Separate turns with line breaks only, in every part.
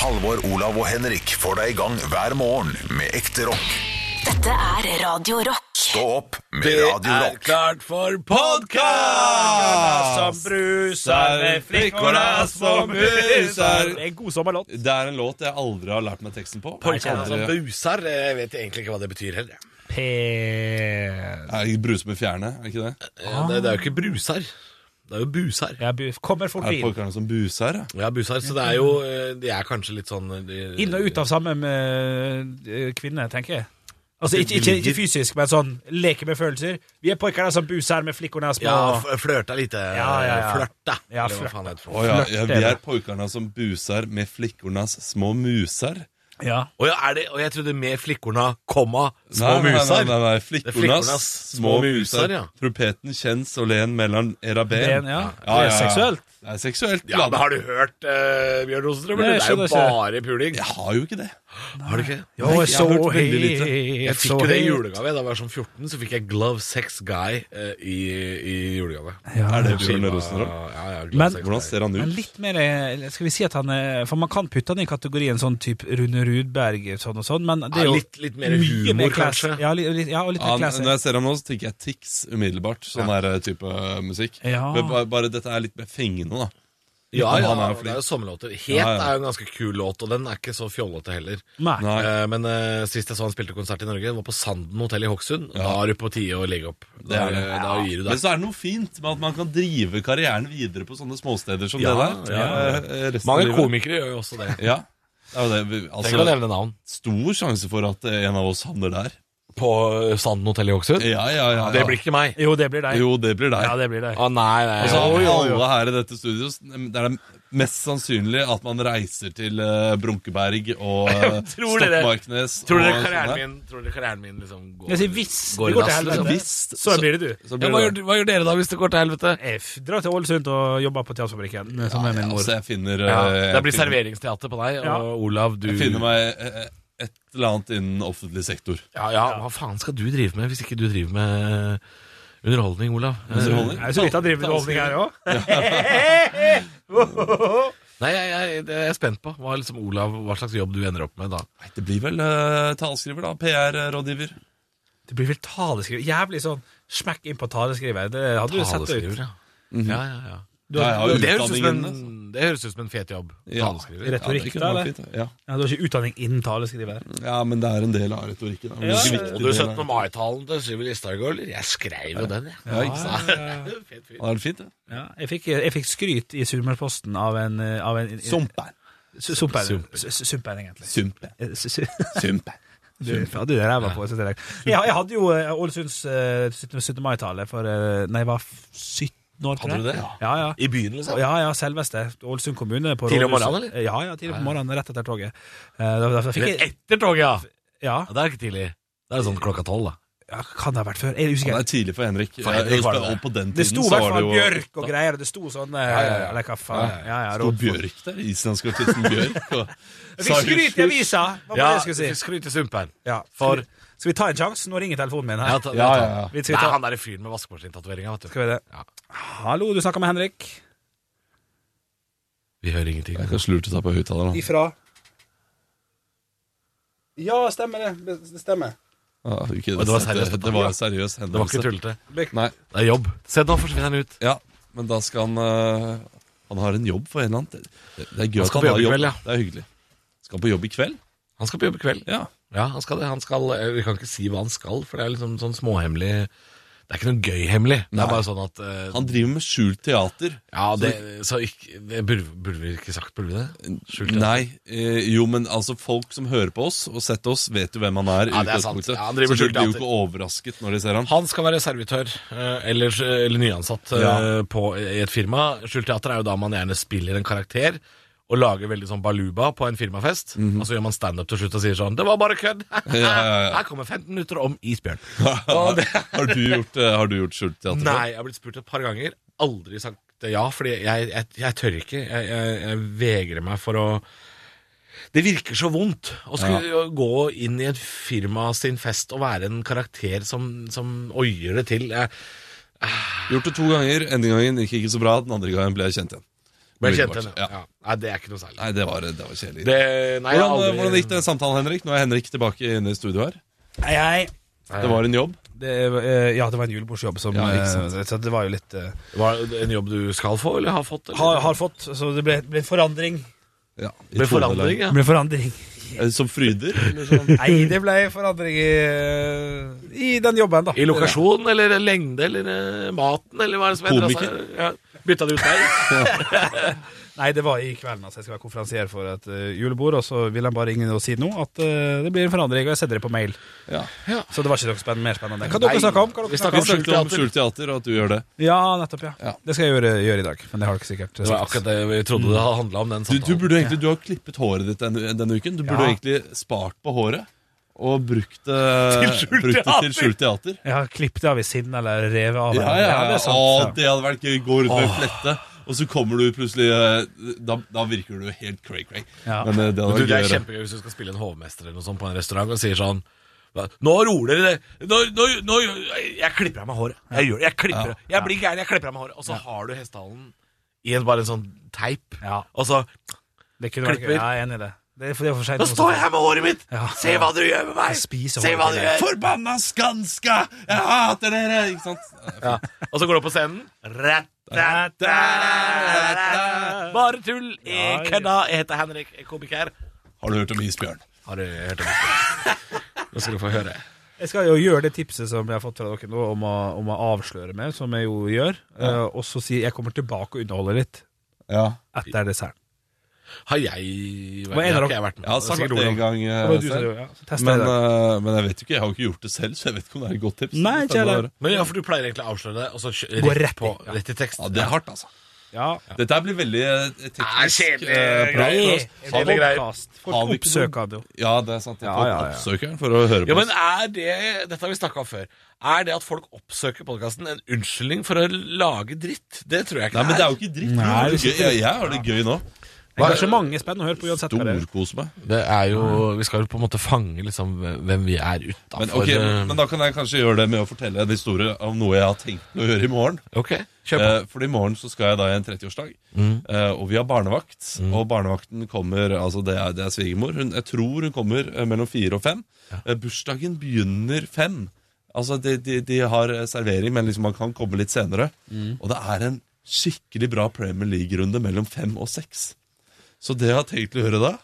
Halvor, Olav og Henrik får deg i gang hver morgen med ekte rock.
Dette er Radio Rock.
Stå opp med
Det
Radio
er
Rock.
klart for podkast!
Som bruser med flikkorna som bruser Det er en god sommerlåt.
Det er en låt jeg aldri har lært meg teksten på.
Polka
Aldri-
Busar, jeg vet egentlig ikke hva det betyr heller.
Er det ikke Bruse med fjærene, er det ikke det?
Ja, det, det er jo ikke brusar. Det er jo busar.
Jeg bu- kommer fort
Er det
inn.
polkerne som buser? ja?
Ja, busar, så det er jo eh, De er kanskje litt sånn de-
Inn og ut av samme med eh, kvinne, tenker jeg. Altså ikke, ikke, ikke fysisk, men sånn leke med følelser. Vi er pojkarna som buser med flikkorna små.
Ja, f- flørta lite.
Ja, ja, ja.
Flørta.
Ja,
eller
flørta.
hva faen det heter for
Å
noe.
ja,
Flørt,
ja,
er
vi
det.
er polkerne som buser med flikkornas små muser.
Ja.
Å ja, er det, og jeg trodde med flikkorna, komma, små
Nei, nei, Nei,
musar.
nei, nei,
Det er
Flikkornas
flikkornas
små
små muser,
muser.
ja.
Trumpeten kjennes og len mellom era ben.
Ben, ja.
Ja, ja,
Det er
ja.
seksuelt.
Det er seksuelt.
Ja, men har du hørt eh, Bjørn Rosenstrøm?
Nei,
eller?
jeg
Det er jo
skjønner
bare puling.
Jeg har jo ikke det.
Har du ikke?
Jo,
jeg
så
har hørt veldig lite.
helt,
Jeg fikk
så
jo det i
helt.
julegave. Da jeg var sånn 14, så fikk jeg Glove Sex Guy eh, i, i julegave.
Er det Bjørn
Skiva-
Rosenstrøm?
Ja, ja, Glove
Men-
Sex
Hvordan
Guy.
ser han
Men
ut?
litt mer eh, Skal vi si at han er For man kan putte han i kategorien sånn type Rune Rudberg sånn og sånn, men det er
Ja,
jo
litt- litt mer
mye
humor,
class.
kanskje.
Ja, li- litt, ja, og litt mer
Han,
classy.
når jeg ser ham nå, så tenker jeg Tix umiddelbart. Sånn her type øh, musikk.
Ja.
Men bare, bare dette er litt mer fengende, da.
Ja,
Han-
ja,
han er jo
det
flink.
er jo sommerlåter. Het
Ja, ja.
er jo en ganske kul låt, og den er ikke så fjollete heller.
Nei.
Nei.
Eh, Men eh, sist jeg så han spilte konsert i Norge, var på Sanden hotell i Hokksund. Da er du på tide å legge opp.
Det
Da,
er det.
da gir du
Men
deg.
så er det noe fint med at man kan drive karrieren videre på sånne småsteder som
Ja,
det der.
ja.
Eh, resten av
Mange
livet.
komikere gjør jo også det.
Ja. Det er jo det. Vi-
Tenk å
Altså,
nevne navn.
stor sjanse for at eh, en av oss havner der.
På eh, Sanden hotell i Hokksund?
Ja, ja, ja. ja.
Det blir ikke meg.
Jo, det blir deg.
Jo, det blir deg.
Ja, det blir deg.
Å nei, nei.
Og så
jo,
har vi
jo, jo.
alle her i dette studio s- Det er det mest sannsynlig at man reiser til eh, Brunkeberg og eh,
Tror dere-
Stokmarknes.
Tror
og
dere
sånn
karrieren
sånne.
min, tror dere karrieren min liksom går,
Jeg sier hvis
går
det går til
dass, liksom?
helvete,
Hvis-
så blir det du.
Så
Ja,
blir
hva,
det
gjør, hva gjør dere da hvis det går til helvete?
Jeg f- drar til Ålesund og jobber på Teaterfabrikken. Som er
Ja,
min mor.
altså, jeg finner
Ja,
eh,
det blir
jeg finner,
serveringsteater på deg,
Ja.
og Olav, du
jeg finner meg eh, et eller annet innen offentlig sektor.
Ja, ja, hva faen skal du drive med hvis ikke du driver med eh, underholdning, Olav?
Underholdning?
Jeg er så vidt han driver med holdning her òg.
Eh, Nei, jeg, jeg, det er jeg spent på. Hva, er liksom, Olav, hva slags jobb du ender opp med da?
Nei, Det blir vel eh, talskriver, da. PR-rådgiver.
Det blir vel taleskriver. Jævlig sånn smekk inn på taleskriver. Det hadde du sett ut.
Taleskriver, ja. ja, ja, ja. altså.
Ja, jeg har jo
Det, høres ut som
utdanning
en,
innen det,
det høres ut som en fet jobb.
Ja.
Taleskriver.
Retorikk,
det kunne
da,
vært
eller?
fint, ja.
Ja, du har ikke utdanning innen taleskriver.
ja, men det er en del av retorikken. da. Men
Ja,
det er ikke
ja.
viktig del
Du
av-
17. mai-talen til Syvi Listhaug, eller? Jeg skrev jo den, jeg.
Ja, ikke sant?
Fet fyr.
Ja, det er fint, det.
Ja, jeg, fikk, jeg fikk skryt i Sunnmørsposten av en, eh, av en
Sumpen.
Sumpen. Sumpen, egentlig.
Sumpen.
Eh, s- s-
Sumpen.
Du, faen, du er ræva på. Jeg, synes det er rart. jeg, jeg hadde jo eh, Ålesunds eh, 17. 17. mai-tale for eh, Nei, jeg var f- 17 år. tror
Hadde du
jeg.
det?
Ja, ja.
I byen, liksom?
Ja, ja, selveste. Ålesund kommune. På
Tidlig om
rådhuset.
morgenen, eller?
Ja, ja, tidlig på morgenen, rett etter toget. Eh, Da, da fikk
Rett
jeg,
etter toget, ja.
ja,
ja! Det er ikke tidlig. Det er sånn klokka tolv, da.
ja, kan det ha vært før? Jeg er
Ja, det
usikker.
er tidlig for Henrik.
For Henrik
Jeg
var
husker,
det.
og på den tiden
Det sto i
så
hvert
var det
fall
jo
bjørk og greier, og det sto sånn eh,
ja, ja.
Eller hva faen. Ja, ja,
Sto
råd-
Bjørk der? Islandsgartisten Bjørk? Og,
Jeg fikk skryt i avisa! Hva var det jeg skulle si?
skryt i sumpen.
Ja,
For-
skal vi- Skal vi ta en sjanse? Nå ringer telefonen min
Ja,
her.
ta,
Ja,
ta-
ja, ja.
Vi
Det
skal
er
ta
han derre fyren med vaskemaskintatoveringa, vet du.
Skal vi det?
Ja.
Hallo, du snakker med Henrik.
Vi hører ingenting.
Jeg kan slurte ta på høyttaleren. da.
Ifra Ja, stemmer det. Det stemmer.
Ja, ok,
Og det var seriøst,
det var en seriøs hendelse.
Det var ikke tullete.
Nei.
Det er jobb. Se, nå forsvinner han ut.
Ja, men da skal han øh, Han har en jobb for en eller annen. Det, det er gøy at
Han skal
han
på
har
jobb i
jobb.
kveld, ja.
Det er hyggelig. Skal han på jobb i kveld?
Han skal på jobb i kveld.
Ja.
Ja, han skal det. Han skal, eh, vi kan ikke si hva han skal, for det er liksom sånn småhemmelig Det er ikke noe gøy hemmelig. Det
Nei.
er bare sånn at eh,
Han driver med skjult teater.
Ja, det, så ikke, det burde, burde vi ikke sagt, burde vi det? Skjult det.
Nei, eh, jo, men altså folk som hører på oss og setter oss, vet jo hvem han er. i
Ja, det er sant.
utgangspunktet.
Ja, han driver
så de
skjult
blir jo
teater.
ikke overrasket når de ser han.
Han skal være servitør, eh, eller, eller nyansatt eh,
Ja.
på, i et firma. Skjulteater er jo da man gjerne spiller en karakter og lager veldig sånn baluba på en firmafest. Og så gjør man standup til slutt og sier sånn 'Det var bare kødd!'
ja, ja.
Her kommer 15 minutter om isbjørn. Og det,
har du gjort, eh, har du gjort skjult teater? før?
nei, jeg har blitt spurt et par ganger. Aldri sagt ja, fordi jeg, jeg, jeg tør ikke. Jeg, jeg, jeg vegrer meg for å det virker så vondt å skulle gå inn i et firma sin fest og være en karakter som, som oier det til. Jeg,
Gjort det to ganger. Ene gangen gikk ikke så bra, den andre gangen ble jeg kjent igjen.
Ble kjent
Umiddelbart,
henne. Ja. Nei, det er ikke noe særlig.
Nei, det var, det var kjedelig.
Det, nei, jeg har
hvordan,
aldri-
hvordan gikk den samtalen, Henrik? Nå er Henrik tilbake inne i studio her.
Hei, hei.
Nei,
Det var en jobb.
Det, eh, ja, det var en julebordsjobb som
Ja, ikke sant.
eh, Så det var jo litt eh,
Var det en jobb du skal få, eller har fått? Eller?
har, har fått, så det ble, ble en forandring.
Ja, i
Ble
Trøndelag.
forandring, ja.
Det ble forandring.
Er det Som fryder? Eller sånn?
Nei, det ble forandring i, eh, i den jobben, da.
I lokasjon, eller lengde, eller eh, maten, eller hva er det som
Komiker.
endret seg? Ja. Bytta det ut der?
Nei, det var i kvelden. altså Jeg skal være konferansier for et eh, julebord, og så vil han bare ingen si nå at eh, det blir en forandring, og jeg sender det på mail.
Ja.
Så det var ikke noe spenn- mer spennende. Hva
Nei.
dere snakker om? Hva
Vi
dere
snakker
Vi
snakker om?
om
snakket om
skjult teater.
skjult teater, og at du gjør det.
Ja, nettopp, ja.
Ja.
Det skal jeg gjøre, gjøre i dag, men det har dere sikkert.
Det var akkurat det vi trodde det handla om, den
Du, du
samtalen.
burde egentlig, du har klippet håret ditt denne, denne uken. Du burde
Ja.
egentlig spart på håret og brukt det
Til skjult
brukt det
teater.
til skjult teater.
Jeg har klippet av i sinne, eller revet av.
Ja,
eller-
ja,
det
ja.
er sant.
Å,
ja.
det hadde vært gøy. Gå rundt med flette, og så kommer du plutselig eh, Da, da virker du helt cray-cray.
Ja.
Men eh, det hadde
Du,
vært
det
gøy. å
er
gjøre.
kjempegøy hvis du skal spille en hovmester eller noe sånt på en restaurant og sier sånn Nå roer dere det. Nå, nå, nå, jeg klipper av meg håret. Jeg gjør det. Jeg klipper
Ja.
det. Jeg blir gæren. Jeg klipper av meg håret. Og så har du hestehalen i en, bare en sånn teip.
Ja.
Og så
Det kunne vært
Klipper.
gøy. Ja, jeg er enig i det. Det er, for det er for sent
Nå
nå,
står jeg
så-
her med håret mitt!
Ja.
Se hva dere gjør med meg!
Jeg spiser
Se
håret
hva
til
dere
deg.
gjør!
Forbanna Skanska! Jeg hater dere! Ikke sant?
Ja. Og så går du opp på scenen. Rat, rat, rat, rat. Bare tull. Jeg kødda. Jeg heter Henrik, jeg er komiker.
Har du hørt om isbjørn?
Har du hørt om det? Nå skal du få høre.
Jeg skal jo gjøre det tipset som jeg har fått fra dere nå, om å, om å avsløre meg, som jeg jo gjør. eh, og så si jeg kommer tilbake og underholder litt
Ja.
etter desserten.
Har jeg vært,
Hva er det
har
dere-
ikke jeg vært med.
Jeg har sagt
Sikkert
det
Olav.
en gang. eh,
Det var du som
selv.
gjorde det, ja. Så tester jeg
Men,
det.
eh, men jeg vet jo ikke, jeg har jo ikke gjort det selv, så jeg vet ikke om det er et godt tips.
Nei, ikke jeg
Spennende å
heller.
høre.
Men ja, for du pleier egentlig å avsløre det, og så kjø-
Gå
rett,
rett i,
på,
ja.
rett i tekst.
Ja, det er hardt, altså.
Ja.
Dette her blir veldig eh, teknisk.
kjedelig
eh, prat for oss.
greier. Har vi greier?
Har vi
Folk
ikke noe-
oppsøker det jo.
Ja, det er sant. Jeg
Ja,
tok
ja, ja.
oppsøkeren for å høre
Ja,
på
men
oss.
er det, Dette har vi snakka om før. Er det at folk oppsøker podkasten en unnskyldning for å lage dritt? Det tror jeg ikke
Nei, men det er jo ikke dritt.
Nei,
det er
det er
gøy. Jeg, jeg har det gøy nå.
Engasjementet er spennende å høre på uansett. hva det er.
Storkose meg.
Det er jo Vi skal jo på en måte fange liksom hvem vi er Eh, utafor
Men,
eh,
ok, men da kan jeg kanskje gjøre det med å fortelle en historie om noe jeg har tenkt å gjøre i morgen.
kjør på. Mm.
Eh, for i morgen så skal jeg da i en 30-årsdag, eh, og vi har barnevakt. Og barnevakten kommer altså Det er, det er svigermor. Hun, jeg tror hun kommer eh, mellom fire og fem. Eh, bursdagen begynner fem. Altså de, de, de har eh, servering, men liksom man kan komme litt senere.
Mm.
Og det er en skikkelig bra Premier League-runde mellom fem og seks. Så det jeg har tenkt å gjøre da,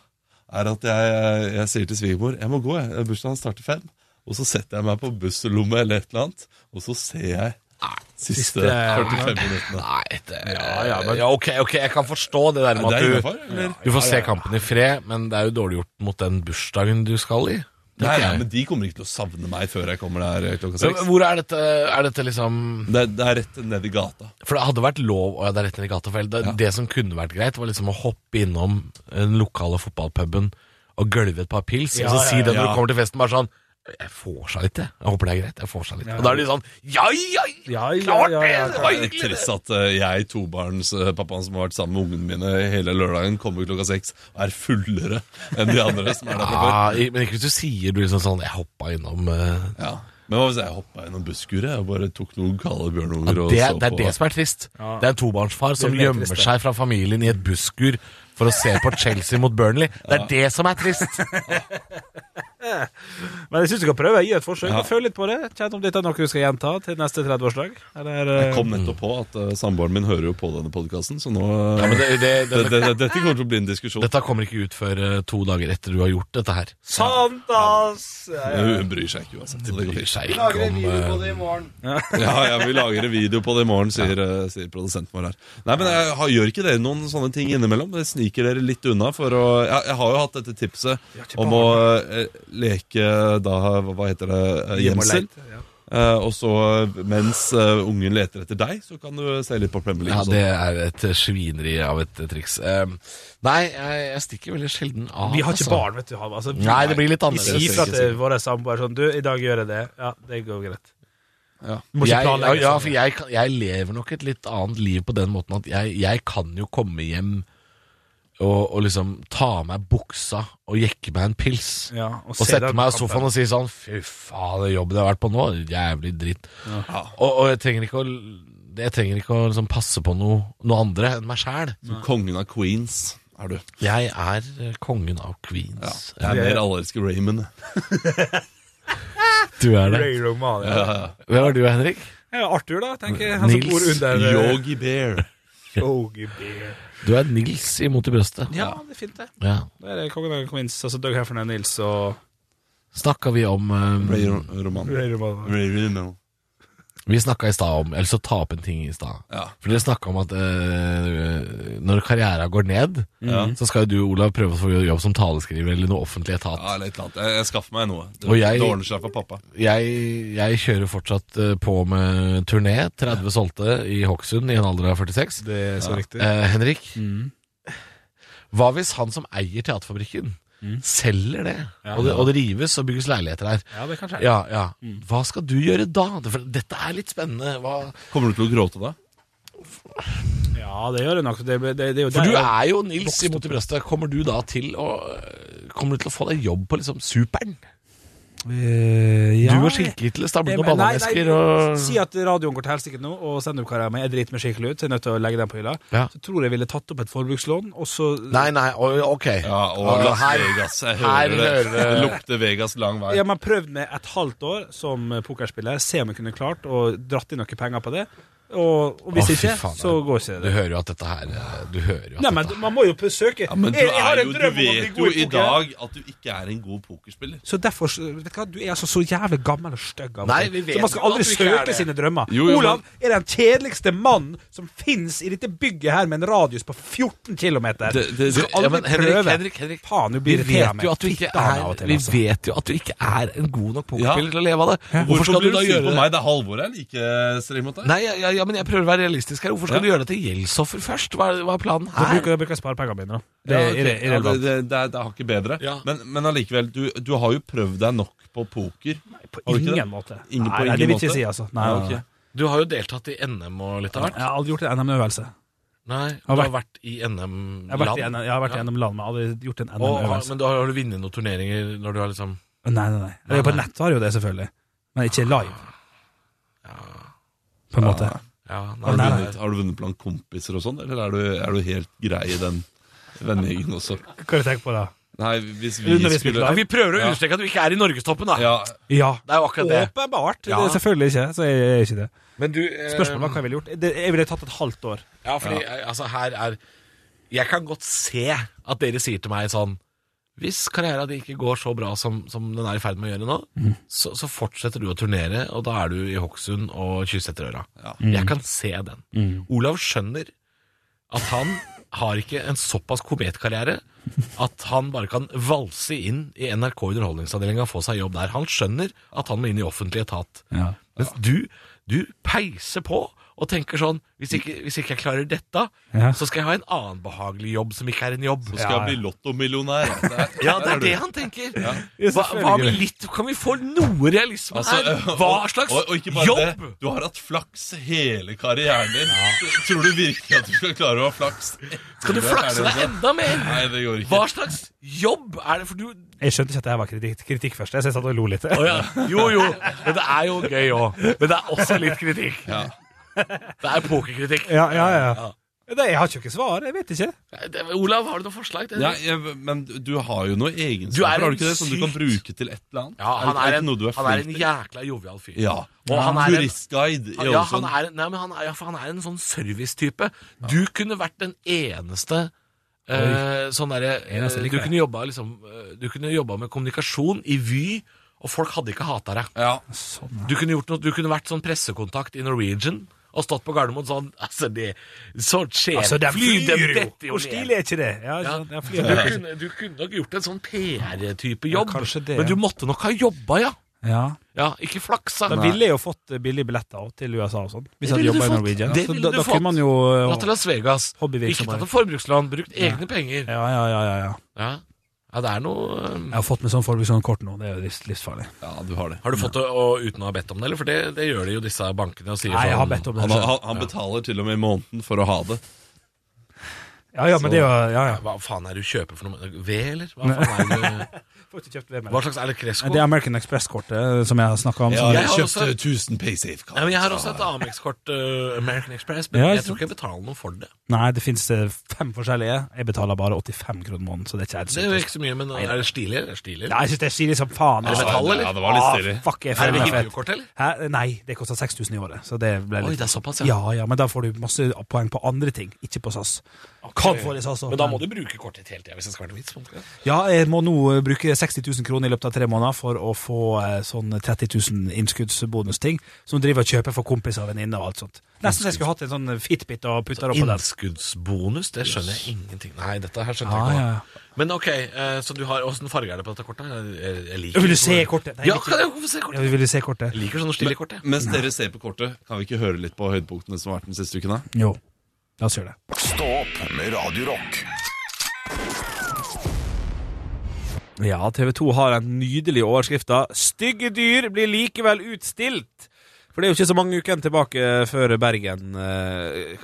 er at jeg, jeg sier til svigermor Jeg må gå, jeg. Eh, bursdagen starter fem. Og så setter jeg meg på busslommet eller et eller annet, og så ser jeg siste
siste-
45 minuttene.
Nei, det
Ja, ja, men-
ja, ok, ok, jeg kan forstå det der med
Det
at
er
du
innenfor, eller?
Du får se kampen i fred, men det er jo dårlig gjort mot den bursdagen du skal i.
Nei,
tenker
nei,
jeg.
men de kommer ikke til å savne meg før jeg kommer der eh, klokka
Så
seks.
Hvor er dette, er dette liksom
Det, er- det er rett ned i gata.
For det hadde vært lov å ja, det er rett ned i gata, for det, det som kunne vært greit, var liksom å hoppe innom den lokale fotballpuben og gølve et par pils, og så si det når
ja.
du kommer til festen, bare sånn jeg får seg litt, jeg. Jeg håper det er greit. jeg får seg litt Og da er de sånn Ja, ja,
Ja, ja,
klart
ja, ja,
det! Det
klart
var
Det er
hyggelig, det!
trist at eh, jeg, tobarnspappaen som har vært sammen med ungene mine hele lørdagen, kommer klokka seks og er fullere enn de andre som er der fra før.
Ja, Ah, i- men ikke hvis du sier du liksom sånn Jeg hoppa innom eh,
Ja. Men hva hvis jeg hoppa gjennom busskuret og bare tok noen kalde bjørnunger og
det,
så
det er
på?
det som er trist. Det er en tobarnsfar som
Det er mer
gjemmer
trist, det.
seg fra familien i et busskur for å se på Chelsea mot Burnley. Det er det som er trist.
Men jeg syns du skal prøve. Gi et forsøk.
Ja.
og Føl litt på det. Kjenn om dette er noe du skal gjenta til neste 30-årsdag. Eller
Jeg
eh,
kom nettopp på at eh, samboeren min hører jo på denne podkasten, så nå eh,
Mm. Ja, men det, det, det,
det, det, Dette kommer til å bli en diskusjon.
dette kommer ikke ut før eh, to dager etter du har gjort dette her.
Sant, ass! Ja, ja.
Hun bryr seg ikke uansett. Så det går
Bryr
fint.
seg ikke om eh,
Ja, ja, vi lager en video på det i morgen, sier, eh, sier produsenten vår her. Nei, men jeg, har- Gjør ikke dere noen sånne ting innimellom? Det sniker dere litt unna. for å, Jeg, jeg har jo hatt dette tipset om å eh, leke da hva- Hva heter det? eh,
Hjem og
Gjemsel.
leit, ja.
Eh, og så eh, mens eh, ungen leter etter deg, så kan du se litt på Premier League.
Ja,
Altså.
og sånn. sånt.
det er et svineri av et eh, triks. Eh, Nei, jeg, jeg stikker veldig sjelden av.
Vi har ikke
altså.
barn, vet du. Halvor. Altså, vi-
Nei, det blir litt
Vi
annerledes.
sier fra
ikke
til våre samboere sånn Du, i dag gjør jeg det. Ja, det går greit.
Ja.
Du må ikke
jeg, ja,
planlegge
ja,
sånn.
for jeg, kan- jeg lever nok et litt annet liv på den måten at jeg, jeg kan jo komme hjem og, og liksom ta av meg buksa og jekke meg en pils.
Ja,
Og sette meg i sofaen og si sånn Fy faen, det jobben jeg har vært på nå, jævlig dritt. Og, og jeg trenger ikke å l- jeg trenger ikke å liksom passe på noe, noe andre enn meg sjæl.
Som kongen av Queens er du.
Jeg er eh, kongen av Queens. Eh,
Jeg er mer allergisk Raymond.
Du er det.
Ray Romano.
Hvem er du, Henrik?
Ja, Arthur, da, tenker jeg. Han som
Nils
bor under eh,
Yogi Bear.
Yogi Bear.
Du er Nils imot i brøstet.
Ja, det er fint, det.
Ja.
Da er det Kongen av Queens, altså Doug Heffernan Nils og
Snakka vi om eh,
Ray Roman.
Ray Romano.
Ray Romano.
Vi snakka i stad om Eller så ta opp en ting i stad.
Ja.
For dere snakka om at eh, når karriera går ned,
Ja.
så skal jo du, Olav, prøve å få jobb som taleskriver eller noe offentlig etat.
Ja, eller et eller annet. Jeg, jeg skaffer meg noe. Det,
Og jeg-
det ordner seg for pappa.
jeg, jeg kjører fortsatt eh, på med turné. 30 solgte i Hokksund i en alder av 46.
Det er så riktig.
Eh, Henrik,
Mm.
hva hvis han som eier Teaterfabrikken,
Mm.
selger det, og det, og det rives og bygges leiligheter her?
Ja, det Mm. kan skje.
Ja, ja. Hva skal du gjøre da? Det- For dette er litt spennende. Hva?
Kommer du til å gråte da?
Ja, det gjør det nok. Det, det, det er jo
For
der-
du er jo Nils imot i brøstet. Kommer du da til å eh, Kommer du til å få deg jobb på liksom Superen?
ja,
du og
jeg-
skinkehitler stabler
Jeg-
noen
nei, nei,
ballanesker og
Si at radioen går til helsike nå, og standup-karrieren min er dritmye skikkelig ut, så jeg er nødt til å legge den på hylla.
Ja.
Så tror jeg ville tatt opp et forbrukslån, og så
Nei, nei, o- ok.
Ja, og
Ah,
Las
her-
Vegas. Jeg
her
hører det.
hører
Det
det.
lukter Vegas lang vei.
Ja, men prøvd med et halvt år som pokerspiller, se om jeg kunne klart å dratt inn noen penger på det. Og, og hvis
Å, fy
ikke,
faen,
så går ikke
Du
det.
hører jo at dette her eh, Du hører jo at
Nei, men
dette
man må jo p- søke.
Men du,
jeg, jeg har
er
en
jo, du
drøm om å bli
vet jo
god i
i
poker.
dag at du ikke er en god pokerspiller.
Så derfor, så- vet du hva, du er altså så jævlig gammel og stygg av og
Nei,
til.
vi vet
Så man skal
jo at
aldri
du ikke er
søke
det.
sine drømmer.
Jo, jo, men-
Olav er den kjedeligste mannen som fins i dette bygget her, med en radius på 14 km.
Det- det-
Du skal
Du- ja,
aldri
men Henrik,
prøve.
Henrik, Henrik.
Faen, du
Vi
blir irritert
vet,
meg.
jo at du ikke
Fitte han av og
er,
til,
vi
altså.
vet jo at du ikke er en god nok
Ja.
pokerspiller til å leve av det.
Hvorfor skal du da gjøre det?
det?
Meg? Det er Halvor jeg er like eh, streng mot deg.
Nei, ja, ja, ja, men jeg prøver å være realistisk her. Hvorfor skal du gjøre deg til gjeldsoffer først? Hva er, hva er planen
Da
her?
bruker jeg bruker sparepengene mine, da. Det
Ja,
er
ok.
irre-
Ja, det,
irrelevant.
det, det, er, det er ikke bedre.
Ja.
Men, men allikevel, du, du har jo prøvd deg nok på poker. Har
På
du ikke det?
ingen måte.
Ingen- på
nei, nei, det
ingen
vil
måte?
jeg ikke si, altså. Nei,
Ja,
nei, nei.
ok.
Du har jo deltatt i NM og litt av
Jeg har aldri gjort en NM-øvelse.
Nei, du
Har
har
vært-
vært, i
Jeg
NM-land.
har vært, i NM, jeg har vært gjennom land, men aldri gjort en NM-øvelse.
men du har, har du vunnet noen turneringer når du har liksom
Nei, nei, nei.
Nei,
På
nei.
nett har jeg jo det, selvfølgelig. Men ikke live,
Ja,
på en måte.
ja nei,
Har du,
nei,
nei.
vunnet, har du vunnet blant kompiser og sånn, eller er du, er du helt grei i den vennegjengen også?
Hva har du tenkt på da?
Nei, hvis vi
Undervis meg
skulle
klar.
Ja, vi prøver å
Ja.
understreke at du ikke er i norgestoppen, da.
ja,
Ja,
Det er jo akkurat det.
åpenbart.
Ja.
Det er selvfølgelig ikke, så jeg er ikke det.
Men du eh,
Spørsmålet var hva jeg ville gjort. Det, jeg ville tatt et halvt år.
Ja, fordi eh, altså her er Jeg kan godt se at dere sier til meg sånn Hvis karriera di ikke går så bra som, som den er i ferd med å gjøre nå, så, så fortsetter du å turnere, og da er du i Hokksund og Kyssetterøra.
Ja.
Jeg kan se den. Olav skjønner at han har ikke en såpass kometkarriere at han bare kan valse inn i NRK Underholdningsavdelinga og få seg jobb der. Han skjønner at han må inn i offentlig etat. Mens du, du peiser på og tenker sånn Hvis ikke, hvis ikke jeg klarer dette,
Ja.
så skal jeg ha en annen behagelig jobb som ikke er en jobb.
skal jeg bli lottomillionær. Det er-
Ja, det
der
er
du.
det han tenker.
Ja,
Hva, hva
selvfølgelig.
med litt, kan vi få noe realisme
Altså,
her?
eh,
Hva
og-
slags
og, og ikke bare
jobb?
Det, du har hatt flaks hele karrieren din. Tror du virkelig at du skal klare å ha flaks?
Skal du flakse deg enda mer?
Nei, det går ikke.
Hva slags jobb er det? For du
Jeg skjønte ikke at dette var kritikk, kritikk først. Jeg satt og lo litt.
Å ja. Jo, jo. Men det er jo gøy òg. Men det er også litt kritikk.
Ja.
Det er pokerkritikk.
Ja, ja, ja. Nei, jeg har ikke noe svar. Jeg vet ikke.
Det- Olav, har du noen forslag? til det?
Ja, jeg, men du har jo noen egenskaper
Du er en
har du ikke det, som du kan
sykt-
bruke til et eller annet.
Ja, han er,
det ikke
en,
noe du er
han er en
flink til?
jækla jovial fyr.
Ja.
Og han er en,
Turistguide i
ja, han
Ålesund.
er, nei, men han er, ja, for han er en sånn servicetype. Du kunne vært den eneste eh, sånn derre
Eneste
eh,
liker
Du
jeg.
kunne jobba liksom, eh, Du kunne jobba med kommunikasjon i Vy, og folk hadde ikke hata deg.
Ja.
Sånn,
Du kunne, gjort noe, du kunne vært sånn pressekontakt i Norwegian og stått på Gardermoen sånn Altså, det Så skjer
Altså, den
Fly, dem
flyr jo!
detter jo
Hvor
ned.
stilig er ikke det? Ja,
Ja.
sånn, den
Du,
flyr.
kunne, du kunne nok gjort en sånn PR-type jobb,
Ja, kanskje det,
men
ja.
du måtte nok ha jobba, ja.
Ja.
ja ikke flaksa.
Da ville jeg jo fått eh, billige billetter også til USA og sånn. Hvis jeg hadde
ville
jobbet
du
i
fått.
Norwegian.
Det
Så
ville
da,
du
da
fått.
kunne man jo eh,
Dratt til Las Vegas. Ikke
Hobbyvirksomhet.
tatt et forbrukslån, brukt egne penger.
Ja, ja, ja, ja, ja.
Ja. ja, det er noe um,
Jeg har fått med sånn forbruk sånn kort nå. Det er jo livs, livsfarlig.
ja, du har det.
Har du fått det og, uten å ha bedt om det, eller? For det, det gjør de jo disse bankene og sier
Nei, jeg har
sånn
bedt om det.
Han,
selv.
han, han betaler til og med i måneden for å ha det.
Ja, ja, men det er jo Ja, ja.
Hva faen er det du kjøper for noe? Ved, eller? Hva, faen er det?
Får ikke kjøpt ved
du-
meg.
Hva slags er det Cresco?
Det er American Express-kortet eh, som jeg har snakka om.
Jeg
som-
har
Jeg har
kjøpt
også-
1000 PaySafe-kort.
Nei, men jeg har også et Amex-kort, eh, American Express, men
Ja,
jeg
ikke
tror ikke jeg betaler noe for det.
Nei, det fins fem forskjellige. Jeg betaler bare 85 kroner måneden, så det er ikke helt
Det er jo
sykt.
ikke så mye, men uh, er det stilig? eller? Er det stilig?
altså. Ja, jeg syns det er stilig som faen.
Er det
altså.
metall, eller?
Ja, det var litt stilig.
Ah, fuck, jeg
Er
føler
det
meg fet.
hippiekort, eller?
Hæ? Nei, det koster 6000 i året. Så det ble
Oi,
litt
det er såpass, ja.
Ja, ja, men da får du masse poeng på andre ting, ikke på SAS. Kan få det i SAS også.
Men da må du bruke kortet hele tida hvis det skal være noe vits. må du ikke det?
Ja, jeg må nå eh, bruke 60 000 kroner i løpet av tre måneder for å få eh, sånn 30 000 innskuddsbonusting som driver og kjøper for kompiser og venninner og alt sånt. Nesten så jeg skulle hatt en sånn Fitbit og putta oppå den.
Innskuddsbonus, det skjønner jeg ingenting Nei, dette her skjønner
Ja,
jeg ikke.
Ah, ja.
hva. Men ok, eh, så du har Åssen farge er det på dette kortet? Jeg- Jeg, jeg liker
Vil du
sånne-
se kortet? Nei,
Ja,
jeg vil
kan jeg få se
Ja,
kortet?
vi ville se kortet.
Jeg liker sånne stille kort, jeg.
Mens dere ser på kortet, kan vi ikke høre litt på høydepunktene som har vært den siste uken? da?
Jo. La oss gjøre det.
Stå opp med Radio Rock.
Ja, TV 2 har en nydelig overskrift da. 'Stygge dyr blir likevel utstilt'. For det er jo ikke så mange ukene tilbake før Bergen eh,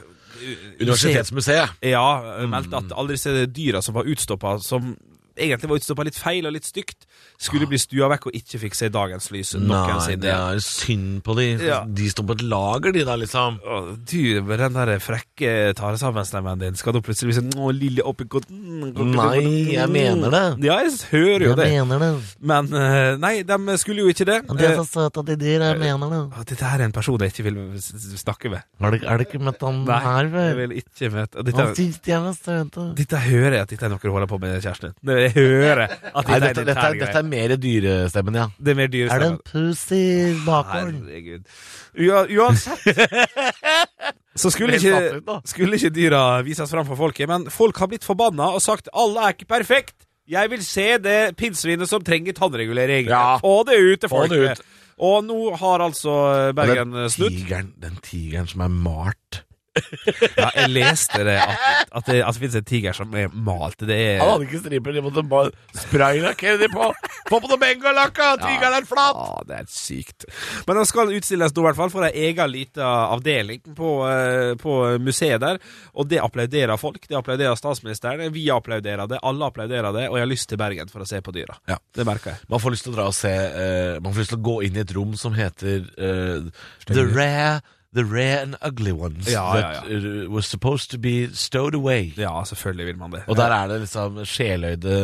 Universitetsmuseet.
Ja,
Mm.
meldte at alle disse dyra som var utstoppa, som egentlig var utstoppa litt feil og litt stygt, skulle bli stua vekk og ikke fikk se dagens lys
Nei,
noensinne.
det er synd på de.
Ja.
De står på et lager, de da, liksom.
Å, Du, med den der frekke taresammenstemmen din, skal du plutselig bli sånn Å, lille mm, oppegåten
Nei, jeg mener det.
mm». Ja, jeg hører jo det.
mener det.
Men eh, nei, de skulle jo ikke det.
Og de er
Eh,
så søte, de dyr. Jeg mener det.
at Dette her er en person jeg ikke vil s- s- snakke med.
Har du, er du ikke møtt han her
jeg
før?
vil ikke møte og
Han
dette,
syns de er så søte.
dette hører jeg at dette er noe du holder på med, kjæresten din. Jeg hører at
Nei,
dette,
dette,
er
dette, er,
dette,
dette er mer dyrestemmen, ja.
Det er mer
Er det
dyrestemme.
en pus i bakgården?
Herregud. Ua, uansett Så skulle
Helt satt ut,
ikke,
da.
skulle ikke dyra vises fram for folket, men folk har blitt forbanna og sagt 'alle er ikke perfekt'. Jeg vil se det pinnsvinet som trenger tannregulering.
Ja.
Få det ut til
Få det
folket.
ut.
Og nå har altså Bergen
den,
snudd.
tigeren, den tigeren som er malt.
Ja, jeg leste det at, at, det, at det finnes en tiger som er malt. Det er
Han hadde ikke striper, de måtte bare spraylakkere de på. Få på noe bengalakka, tigeren er flat!
Ja, det er sjukt. Men den skal utstilles nå, i hvert fall, for ei egen lita avdeling på, eh, på museet der. Og det applauderer folk. Det applauderer statsministeren. Vi applauderer det. Alle applauderer det. Og jeg har lyst til Bergen for å se på dyra.
Ja.
Det merker jeg.
Man får lyst til å dra og se eh, Man får lyst til å gå inn i et rom som heter eh, The
Stemmer.
Rare The Rare and Ugly Ones
Ja, ja, ja.
That eh, Were Supposed to Be Stowed Away
Ja, selvfølgelig vil man det.
Og der er det liksom sjeløyde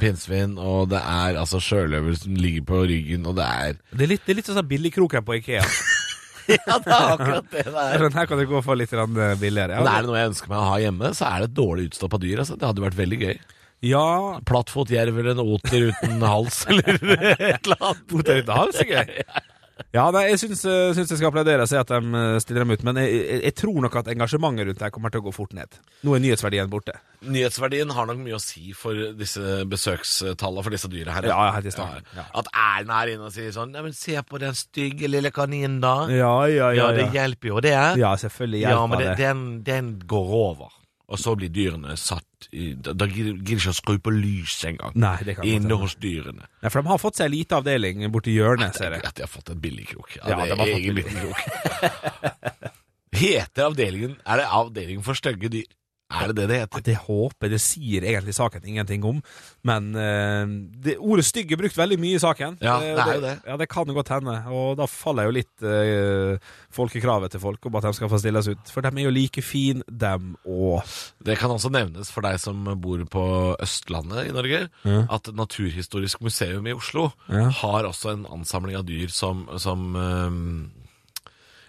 pinnsvin Og det er altså sjøløver som ligger på ryggen Og det er
Det er litt, det er litt sånn billigkroken på Ikea.
Ja, det er akkurat det det
Den her kan du gå for litt grann, eh, billigere.
Men er det noe jeg ønsker meg å ha hjemme Så er det et dårlig utstopp av dyr altså. Det hadde vært veldig gøy
Ja,
Plattfot, jerv eller en oter uten hals Eller et eller annet
Potet uten hals er gøy. Ja, nei, jeg syns, eh, syns jeg skal applaudere og si at de eh, stiller dem ut, men jeg, jeg, jeg tror nok at engasjementet rundt det her kommer til å gå fort ned. Nå er nyhetsverdien borte.
Nyhetsverdien har nok mye å si for disse besøkstallene for disse dyra her.
Ja, helt i starten.
Ja. At Erlend er inne og sier sånn Nei, men se på den stygge lille kaninen, da. Ja,
Ja, ja, ja.
det
Ja,
hjelper jo, det.
ja selvfølgelig
Ja,
hjelper
men det,
det.
den, den går over. Og så blir dyrene satt i Da, da gidder gidder ikke å skru på lyset engang.
Nei, det kan
Inne
godt hende.
hos dyrene.
Nei, for de har fått seg en liten avdeling borti hjørnet,
Det
ser
er
jeg.
At de har fått en billigkrok.
Ja,
Ja, det
de
er
har fått
egen liten krok. Heter avdelingen Er det avdelingen for stygge dyr? Er det det det
Ja,
heter?
Det håper jeg. Det sier egentlig saken ingenting om, men eh, det, ordet stygg er brukt veldig mye i saken.
Ja,
Eh,
det er jo det.
Ja, det kan godt hende, og da faller jo litt eh, folkekravet til folk om at de skal få stilles ut. For de er jo like fine, dem òg.
Det kan også nevnes for deg som bor på Østlandet i Norge, at Naturhistorisk museum i Oslo
Ja.
har også en ansamling av dyr som, som øhm,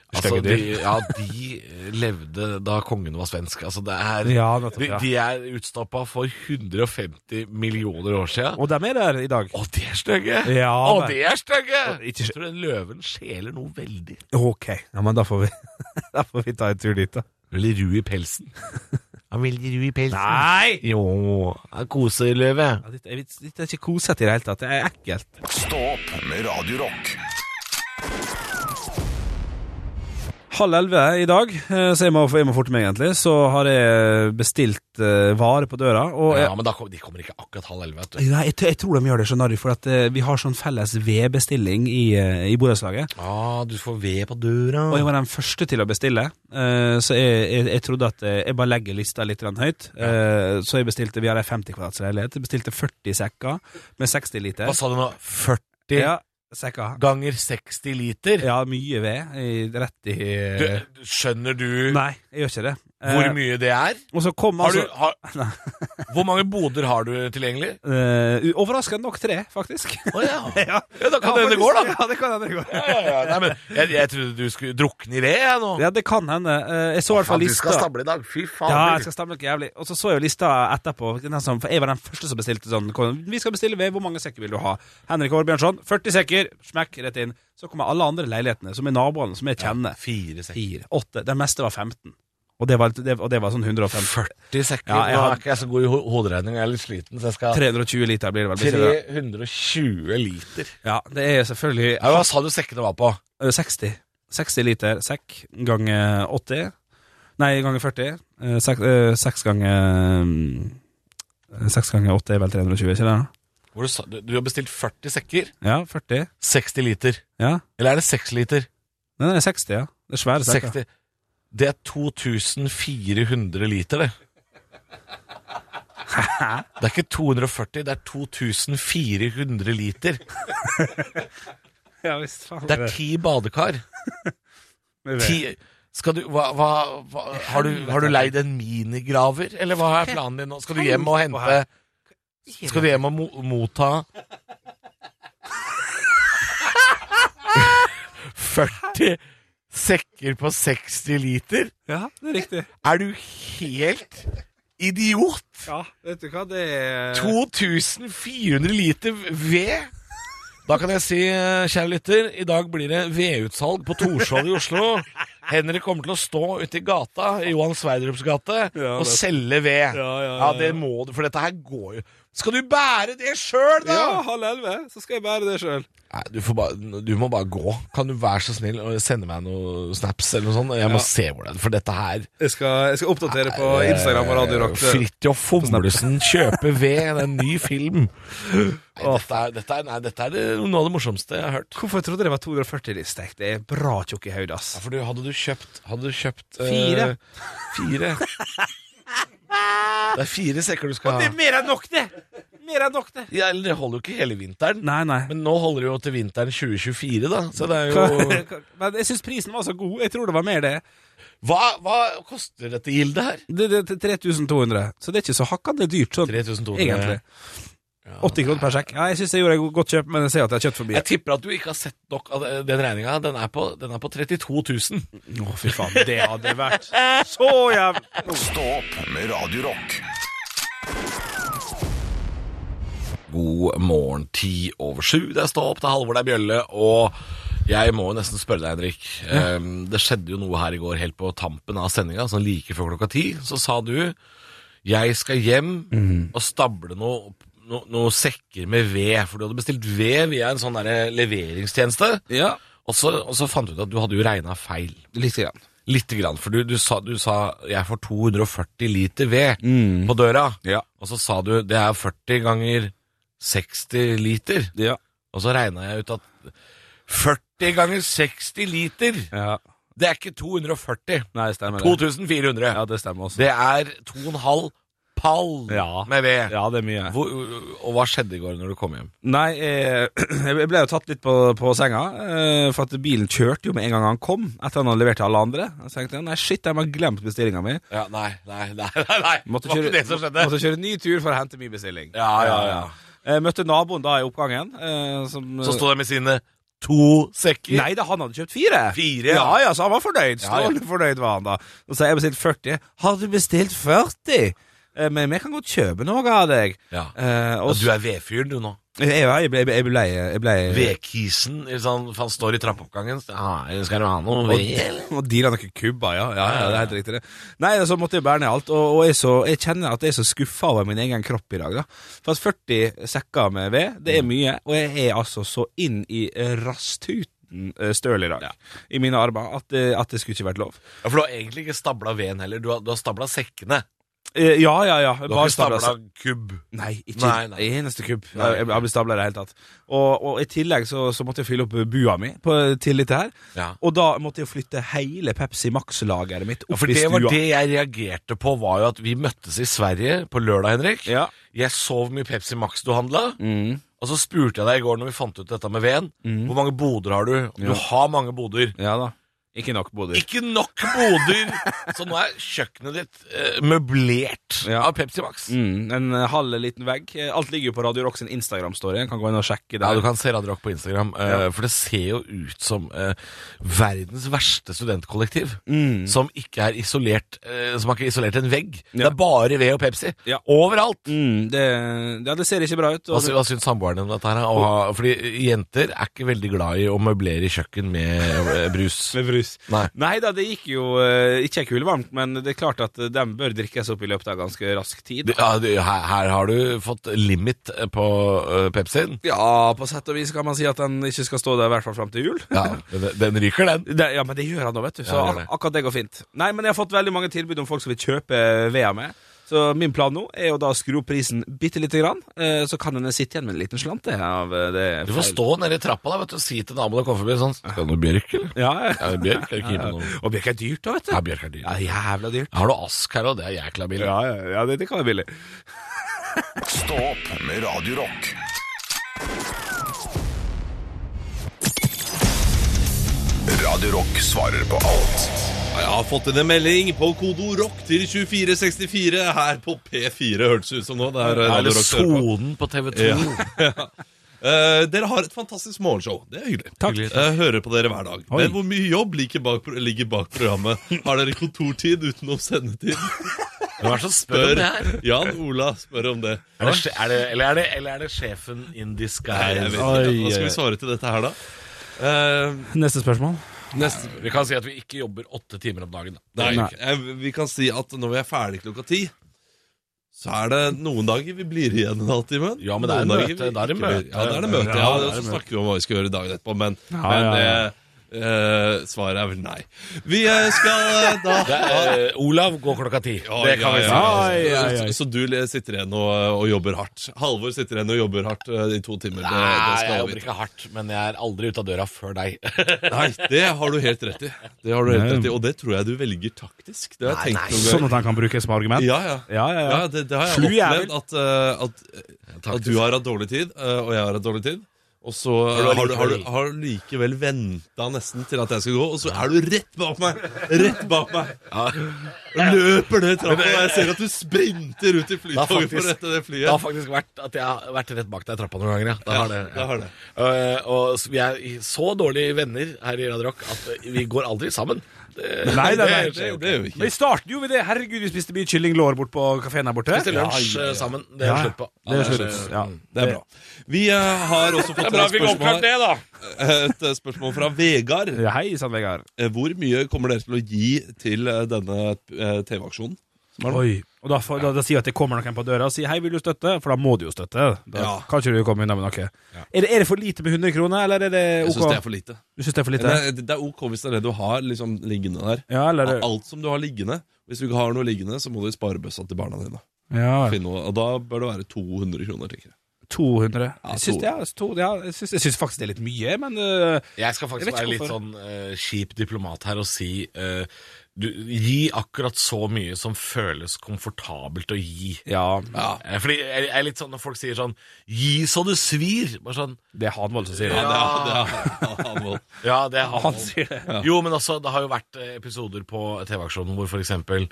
Stygge dyr.
De, ja, de levde da kongen var svensk. Altså, det er,
Ja, nettopp,
de,
ja.
de er utstoppa for 150 millioner år sia.
Og dem er der i dag.
Å, de er stygge!
Ja,
Å,
men-
de er stygge!
ikke-
Jeg tror den løven skjeler noe veldig.
Ok, ja, men da får vi, da får vi ta en tur dit, da.
Eller ru i pelsen.
Han vil gi ru i pelsen.
Nei!
Jo, koseløve.
Ja, dette, er, dette er ikke kosete i det hele tatt. Det er ekkelt.
Stå opp med Radio Rock.
Halv elleve i dag, eh, så jeg må, jeg må forte meg, egentlig. Så har jeg bestilt eh, vare på døra. Og jeg,
Ja, men da kom, de kommer ikke akkurat halv elleve. vet du.
Nei, jeg, t- jeg tror de gjør det, skjønner du, for at eh, vi har sånn felles vedbestilling i, eh, i borettslaget.
Ah, du får ved på døra.
Og jeg var den første til å bestille, eh, så jeg, jeg, jeg trodde at eh, jeg bare legger lista litt grann høyt. Eh, Så jeg bestilte, vi har ei 50 kvadrats leilighet, jeg bestilte 40 sekker med 60
Hva
liter.
sa du nå? 40
Ja, sekker.
ganger 60 liter?
Ja, mye ved. i- Rett i
Du, du- skjønner du
Nei, jeg gjør ikke det.
hvor
Eh,
mye det er?
Og så kom
Har du,
altså
har, hvor mange boder har du tilgjengelig?
eh, u- Overraskende nok tre, faktisk.
Å ja.
ja.
ja, da kan det hende det går, da.
Ja, det kan hende det går.
Ja, ja, ja. Nei, men jeg, jeg trodde du skulle drukne i det, jeg nå.
Ja, det kan hende. Eh, Jeg så i hvert fall
Faen,
lista.
stable i dag. Fy faen.
Ja, jeg skal stemme noe jævlig. Og så så jeg jo lista etterpå. Den som, for jeg var den første som bestilte sånn. Vi skal bestille ved hvor mange sekker vil du ha? Henrik Årbjørnson, 40 sekker. Smekk, rett inn. Så kommer alle andre leilighetene, som er naboene, som jeg kjenner.
Fire sekker.
Fire, åtte. Den meste var 15. Og det var, det, og det var sånn 150.
40 sekker.
Ja, jeg
Nå
har-
er ikke jeg så god i ho- hoderegning, jeg er litt sliten, så jeg skal
320 liter blir det vel. blir det det?
320 liter.
Ja, det er selvfølgelig
Ja, hva sa du sekkene var på?
eh, 60. 60 liter sekk ganger 80. Nei, Eh, ganger 40. 6, ganger mm, Seks ganger 80 er vel 320, ikke det? da?
Hvor du, sa, du, du har bestilt 40 sekker.
Ja, 40.
60 liter.
Ja.
Eller er det 6 liter?
Nei, det er 60, ja. Det er svære sekker.
60. Det er 2400 liter, det. Det er ikke 240, det er 2400 liter.
Ja, visst, faen.
Det er ti badekar. Ti, skal du, hva, hva, hva, har, du, har du leid en minigraver, eller hva er planen din nå? Skal du hjem og hente Skal du hjem og mo motta 40 sekker på 60 liter?
Ja, det er riktig.
Er du helt idiot?
Ja, vet du hva, det er
2400 liter ved. Da kan jeg si, eh, kjære lytter, i dag blir det vedutsalg på Torshov i Oslo. Henrik kommer til å stå ute i gata, i Johan Sverdrups gate,
Ja,
og
det-
selge ved.
Ja, ja, ja,
det må du, for dette her går jo Skal du bære det sjøl, da?!
halv elleve, så skal jeg bære det sjøl.
Nei, du, får bare, du må bare gå. Kan du være så snill å sende meg noen snaps eller noe sånt? Jeg må se hvor det er, for dette her
Jeg, skal- jeg skal oppdatere på Instagram og Radio Rock.
Fridtjof Fomlesen kjøpe ved, en ny film. Nei, dette er, dette er, nei, dette er det, noe av det morsomste jeg har hørt.
Hvorfor trodde jeg det var 240 listek? Det er bra tjukk i hodet,
Ja,
ass.
for du, hadde du kjøpt, hadde du kjøpt
Fire.
eh, fire. Det er fire sekker du skal ha.
mer enn nok, det! Mer enn nok, det.
Ja, eller det holder jo ikke hele vinteren.
Nei, nei.
Men nå holder det jo til vinteren 2024, da. Så det er jo
Men jeg syns prisen var så god. Jeg tror det var mer det.
Hva, hva koster dette gildet her?
Det det- det er 3200, så det er ikke så hakkande dyrt sånn,
3200.
egentlig. 80 kroner per sjekk. Ja, jeg syns jeg gjorde et godt kjøp, men jeg ser at jeg har kjøpt forbi.
Jeg tipper at du ikke har sett nok av den regninga. Den er på, den er på 32 000.
Å, fy faen. Det hadde vært så jævlig
Stå opp med Radio Rock.
God morgen, ti over sju. Det er stå opp, det er Halvor, det er Bjølle. Og jeg må jo nesten spørre deg, Henrik. Ehm, det skjedde jo noe her i går, helt på tampen av sendinga, sånn like før klokka ti. Så sa du 'jeg skal hjem og stable noe, no, noe sekker med ved'. For du hadde bestilt ved via en sånn derre leveringstjeneste.
Ja,
Og så, og så fant du ut at du hadde jo regna feil.
lite grann.
Lite grann, for du, du, sa, du sa 'jeg får 240 liter ved' på døra.
Ja.
Og så sa du 'det er 40 ganger 60 liter'.
Ja.
Og så regna jeg ut at 40 ganger 60 liter, det er ikke 240.
Nei, stemmer det.
2400.
Ja, det stemmer også.
Det er 2,5 pall
Ja.
med ved.
Ja, det er mye.
Hvor, og hva skjedde i går når du kom hjem?
Nei, jeg, jeg ble jo tatt litt på, på senga, eh, for at bilen kjørte jo med en gang han kom, etter han hadde levert til alle andre. Så tenkte jeg, nei shit, de har glemt bestillinga mi.
Ja, Nei, nei, nei. nei, nei.
Måtte
det var
kjøre,
ikke det som skjedde.
måtte kjøre ny tur for å hente min bestilling.
Ja, ja, ja.
Jeg møtte naboen da i oppgangen. eh, Som,
Så sto de med sine to sekker.
Nei da, han hadde kjøpt fire. Ja
Fire, ja.
ja, så han var fornøyd.
Ja, ja.
Strålende fornøyd var han da. Så sa jeg bestilt 40. Har du bestilt 40? Eh, Men vi kan godt kjøpe noe av deg.
Ja.
Eh,
Ja,
og
du er vedfyren, du nå.
jeg, jeg, ble, jeg, ble, jeg ble
Eh. Vedkisen. ikke sant? For han står i trappeoppgangen. Ja, skal du ha noe ved? eller?
og deala noen kubber, ja. ja, ja. Det er helt riktig, det. Nei, så måtte jeg bære ned alt. Og, og jeg, så, jeg kjenner at jeg er så skuffa over min egen kropp i dag, da. For
Mm.
at 40 sekker med ved, det er mye. Og jeg er altså så inn i rasthuten 15 eh, støl i dag i mine armer. At, eh, at det skulle ikke vært lov.
Ja, For du har egentlig ikke stabla veden heller, du har, du har stabla sekkene.
Eh, ja, ja, ja.
Du har ikke
stablet altså.
stabla kubb.
Nei, ikke
Nei, nei.
en eneste kubb. Jeg, jeg ble stabla i det hele tatt. Og, og i tillegg så, så måtte jeg fylle opp bua mi på, til dette her.
Ja.
Og da måtte jeg flytte hele Pepsi Max-lageret mitt
Ja,
opp
for
i
det var
stua.
det jeg reagerte på, var jo at vi møttes i Sverige på lørdag, Henrik.
Ja.
Jeg så hvor mye Pepsi Max du handla,
Mm,
og så spurte jeg deg i går når vi fant ut dette med veden, hvor mange boder har du? Og Du har mange boder.
ja da. Ikke nok boder.
Ikke nok boder! så nå er kjøkkenet ditt eh, møblert
Ja.
av Pepsi Max.
Mm, en eh, halv liten vegg. Eh, Alt ligger jo på Radio Rock sin Instagram-story. En Kan gå inn og sjekke det.
Ja, Du kan se Radio Rock på Instagram, eh, for det ser jo ut som eh, verdens verste studentkollektiv.
Mm.
Som ikke er isolert eh, Som har ikke isolert en vegg. Det
Ja.
er bare ved og Pepsi.
Ja.
Overalt!
Mm, det, ja, det ser ikke bra ut.
Hva,
Og,
sy- hva syns samboeren din om dette? her? da? Å ha- fordi jenter er ikke veldig glad i å møblere kjøkken med eh, brus.
med brus.
Nei.
Nei da, det gikk jo eh, ikke kulevarmt, men det er klart at eh, dem bør drikkes opp i løpet av ganske rask tid.
Du- Ja, du, her, her har du fått limit eh, på eh, Pepsien.
Ja, på sett og vis kan man si at den ikke skal stå der i hvert fall fram til jul.
Ja, den, den ryker, den.
Det, ja, men det gjør han nå, vet du. Så
Ja, han gjør det.
ak akkurat det går fint. Nei, men jeg har fått veldig mange tilbud om folk som vil kjøpe vea med. Så min plan nå er jo da å skru opp prisen bitte lite grann, eh, så kan en sitte igjen med en liten slant. Det av eh, det
Du får
feil.
stå nede i trappa da, vet du, og si til naboen og komme forbi sånn Skal du ha noe bjørk, eller?
Ja,
Ja, bjørk er ikke gitt noe.
Og bjørk er dyrt da, vet du.
Ja, bjørk er dyr.
Ja, jævla dyrt.
Har du ask her òg? Det er jækla billig.
Ja, ja, ja det, det kan være billig.
Stå opp med Radio Rock. Radio Rock svarer på alt.
Jeg har fått en melding på kodo rock til 2464 her på P4, hørtes det ut som nå. Det er eh, Radio
Eller
Rock som hører på.
sonen på TV 2.
Eh, dere har et fantastisk morgenshow. Det er hyggelig.
Takk.
Hyggelig. Jeg hører på dere hver dag. Men hvor mye jobb ligger bak, pro- ligger bak programmet? Har dere kontortid utenom sendetid?
Hvem er det som spør om
Spør
det her?
Jan Ola spør om det.
Er det, sje- er det, eller, er det, eller er det sjefen
Nei,
in
jeg
disguise?
vet ikke. Hva skal vi svare til dette her, da? Eh,
Neste spørsmål.
neste
Vi kan si at vi ikke jobber åtte timer om dagen. Da.
Nei, jeg, vi kan si at når vi er ferdig klokka ti, så er det noen dager vi blir igjen en halvtime.
Ja, men det er
noen
møte,
dager vi
da er det
ikke
møte.
blir- Ja, da er det møte. Ja,
Ja, det er
og så
møte.
snakker vi om hva vi skal gjøre dagen etterpå, men,
Ja,
men
ja, ja.
Det, eh, svaret er vel nei. Vi eh, skal eh, da
Det er, eh, Olav går klokka ti.
Ja,
det kan
ja,
vi si.
ja.
Ai, ai, ai.
Så, så du le- sitter igjen og, eh, og jobber hardt. Halvor sitter igjen og jobber hardt eh, i to timer. Det, det
Nei, jeg
skal vi
jobber ikke hardt, men jeg er aldri ute av døra før deg.
Nei, det har du helt rett i. Det har du helt rett i, Og det tror jeg du velger taktisk. Det har jeg tenkt noen ganger.
Sånn at han kan brukes som argument.
Ja, ja.
Ja, ja, ja.
Ja, det, det har jeg
Slu jævel.
opplevd. At, eh, at, at du har hatt dårlig tid, eh, og jeg har hatt dårlig tid. Og så eh, har
du
du, har du, har
allikevel-
likevel venta nesten til at jeg skal gå, og så er du rett bak meg! Rett bak meg! Og Løper ned trappa, og jeg ser at du sprinter ut i
Det
flytoget
har
for å
faktisk-
rette det
Det har
flyet.
faktisk vært at jeg har vært rett bak deg i trappa noen ganger. Ja. Det har det,
det har det.
Eh, og s- vi er i- så dårlige venner her i Radio Rock at eh, vi går aldri sammen. Det-
Nei, nei, nei,
Det
det skjer jo ikke.
gjorde jeg jo
Men
ikke.
I starten gjorde vi det. Herregud, vi spiste mye kyllinglår bort på kafeen her borte.
Til lunsj
Ja, ja, ja.
eh, sammen. Det er eh,
Ja,
slutt på.
Det
Ja,
er slutt. Ja.
Det er Mm. bra. Vi eh, har også fått et spørsmål,
det, da.
et eh, spørsmål fra Vegard.
Ja, Hei sann, Vegard.
Eh, Hvor mye kommer dere til å gi til eh, denne eh, TV-aksjonen?
Oi. Og da, får- da, da sier jeg at det kommer noen på døra og sier 'hei, vil du støtte?' For da må du jo støtte. Da
Ja.
kan ikke du komme unna med noe. Er, det, er det for lite med 100 kroner, eller er det
Jeg
OK?
syns det er for lite.
Du syns det er for lite?
Det, det er ok hvis det er det du har liksom, liggende der.
Ja, eller
Av Alt som du har liggende. Hvis du ikke har noe liggende, så må du i sparebøssa til barna dine.
ja.
Finn noe, og da bør det være 200 kroner, tenker jeg.
200. Jeg syns,
to-
det er, to, ja, jeg, syns, jeg syns faktisk det er litt mye, men øh,
Jeg skal
Jeg
faktisk
vet ikke
være litt
hvorfor.
sånn eh, kjip diplomat her og si eh, du, Gi akkurat så mye som føles komfortabelt å gi.
Ja,
Eh, Fordi jeg jeg er litt sånn når folk sier sånn Gi så det svir! Bare sånn
det er Hanvold som sier det.
Ja, det
Ah.
er, det er, han må-
Ja, det er
Han sier det.
Jo, men altså, det har jo vært eh, episoder på TV-aksjonen hvor for eksempel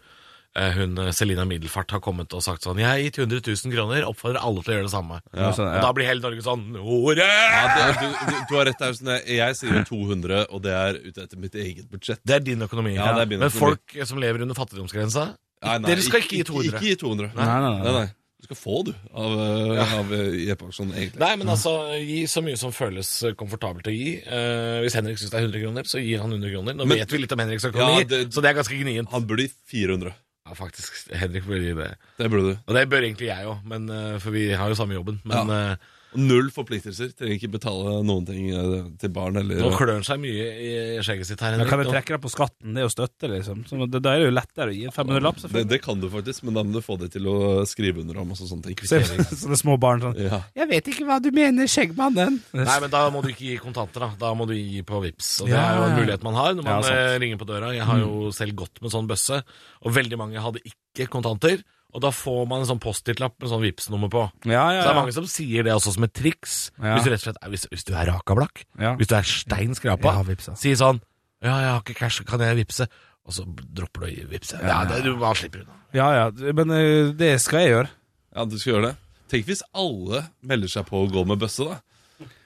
eh, hun eh, Selina Middelfart har kommet og sagt sånn 'Jeg har gitt 100 000 kroner, oppfordrer alle til å gjøre det samme'.
Ja, sånn, ja.
Og da blir hele Norge sånn Hore!
ja, det er, du, du, du har rett. der, sånn, jeg, jeg sier jo 200, og det er ute etter mitt eget budsjett.
Det er din økonomi.
Ja, det er min
men
økonomi.
folk eh, som lever under fattigdomsgrensa
Nei, nei,
Dere skal ikke gi 200.
Ikke, ikke gi 200.
Nei, nei, nei.
Nei, nei. Du skal få, du, av, eh, av eh, EP-aksjonen, egentlig.
Nei, men altså, gi så mye som føles eh, komfortabelt å gi. Eh, hvis Henrik syns det er 100 kroner, så gir han 100 kroner. Nå
Men-
vet vi litt om Henriks økonomi,
Ja, det-
så det er ganske gnient.
Han burde gi 400.
Ja, faktisk. Henrik bør gi det.
Det burde du.
Og det bør egentlig jeg òg, for vi har jo samme jobben. Men eh,
Null forpliktelser. Trenger ikke betale noen ting eh, til barn eller
Nå klør han seg mye i skjegget sitt her.
Da
Henrik.
kan du
Nå-
trekke deg på skatten, det er jo støtte, liksom. Så det, da er det jo lettere å gi en 500-lapp,
det,
selvfølgelig.
det kan du faktisk, men da må du få det til å skrive under om. og så- sånne ting
Så, så det er små barn sånn
Ja.
Jeg vet ikke hva du mener, skjeggmannen.
Nei, men da må du ikke gi kontanter, da. Da må du gi på VIPs Og det
Ja,
er jo en
ja.
mulighet man har
Ja,
når man
sant. Mm.
eh, ringer på døra. Jeg har jo selv gått med sånn bøsse, og veldig mange hadde ikke kontanter. Og da får man en sånn Post-It-lapp med sånn vips nummer på.
Ja, ja,
Så det
ja.
er mange som sier det også som et triks.
Ja.
Hvis, du rett og slett, er- hvis, hvis du er rakablakk,
Ja.
hvis du er stein skrapa,
Ja, vips, ja.
si sånn 'Ja, jeg har ikke cash, kan jeg vippse?' Og så dropper du å gi vippse. Ja, det, du bare slipper unna.
Ja, ja, men eh, det skal jeg gjøre.
Ja, du skal gjøre det. Tenk hvis alle melder seg på å gå med bøsse, da.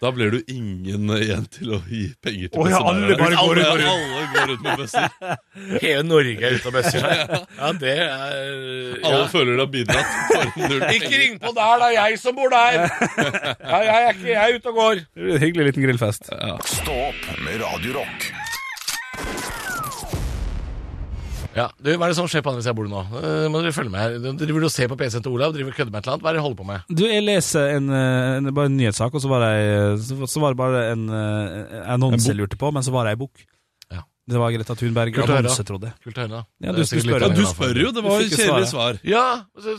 Da blir du ingen igjen til å gi penger til
Å ja, alle bare
Hvis
går ut-
alle, alle går ut med bøsser.
Hele Norge er ute og bøsser seg. Ja, det er
Alle
ja.
føler de har bidratt. for null
Ikke
penger.
ring på der, det er jeg som bor der! Ja, jeg er ikke jeg er ute og går.
Det blir en hyggelig liten grillfest.
Stå opp med Radio Rock.
Ja, du, Hva er det som skjer på andre siden av bordet nå? Eh, må Dere følge med her. Dere driver og ser på PC-en til Olav, driver og kødder med et eller annet. Hva er det dere holder på med?
Du, jeg leser en, eh, en, bare en nyhetssak, og så var det, eh, så, så var det bare en eh, annonse jeg lurte på, men så var det ei bok.
Ja.
Det var Greta Thunberg.
Kult å høre.
Annonse, trodde jeg.
Kult å høre, da.
Ja,
Det er
du- du
sikkert litt
spør.
av
Ja,
det
du
da, for-
spør jo! Det var
Du fikk ikke
kjedelige
svare.
svar.
Ja, altså,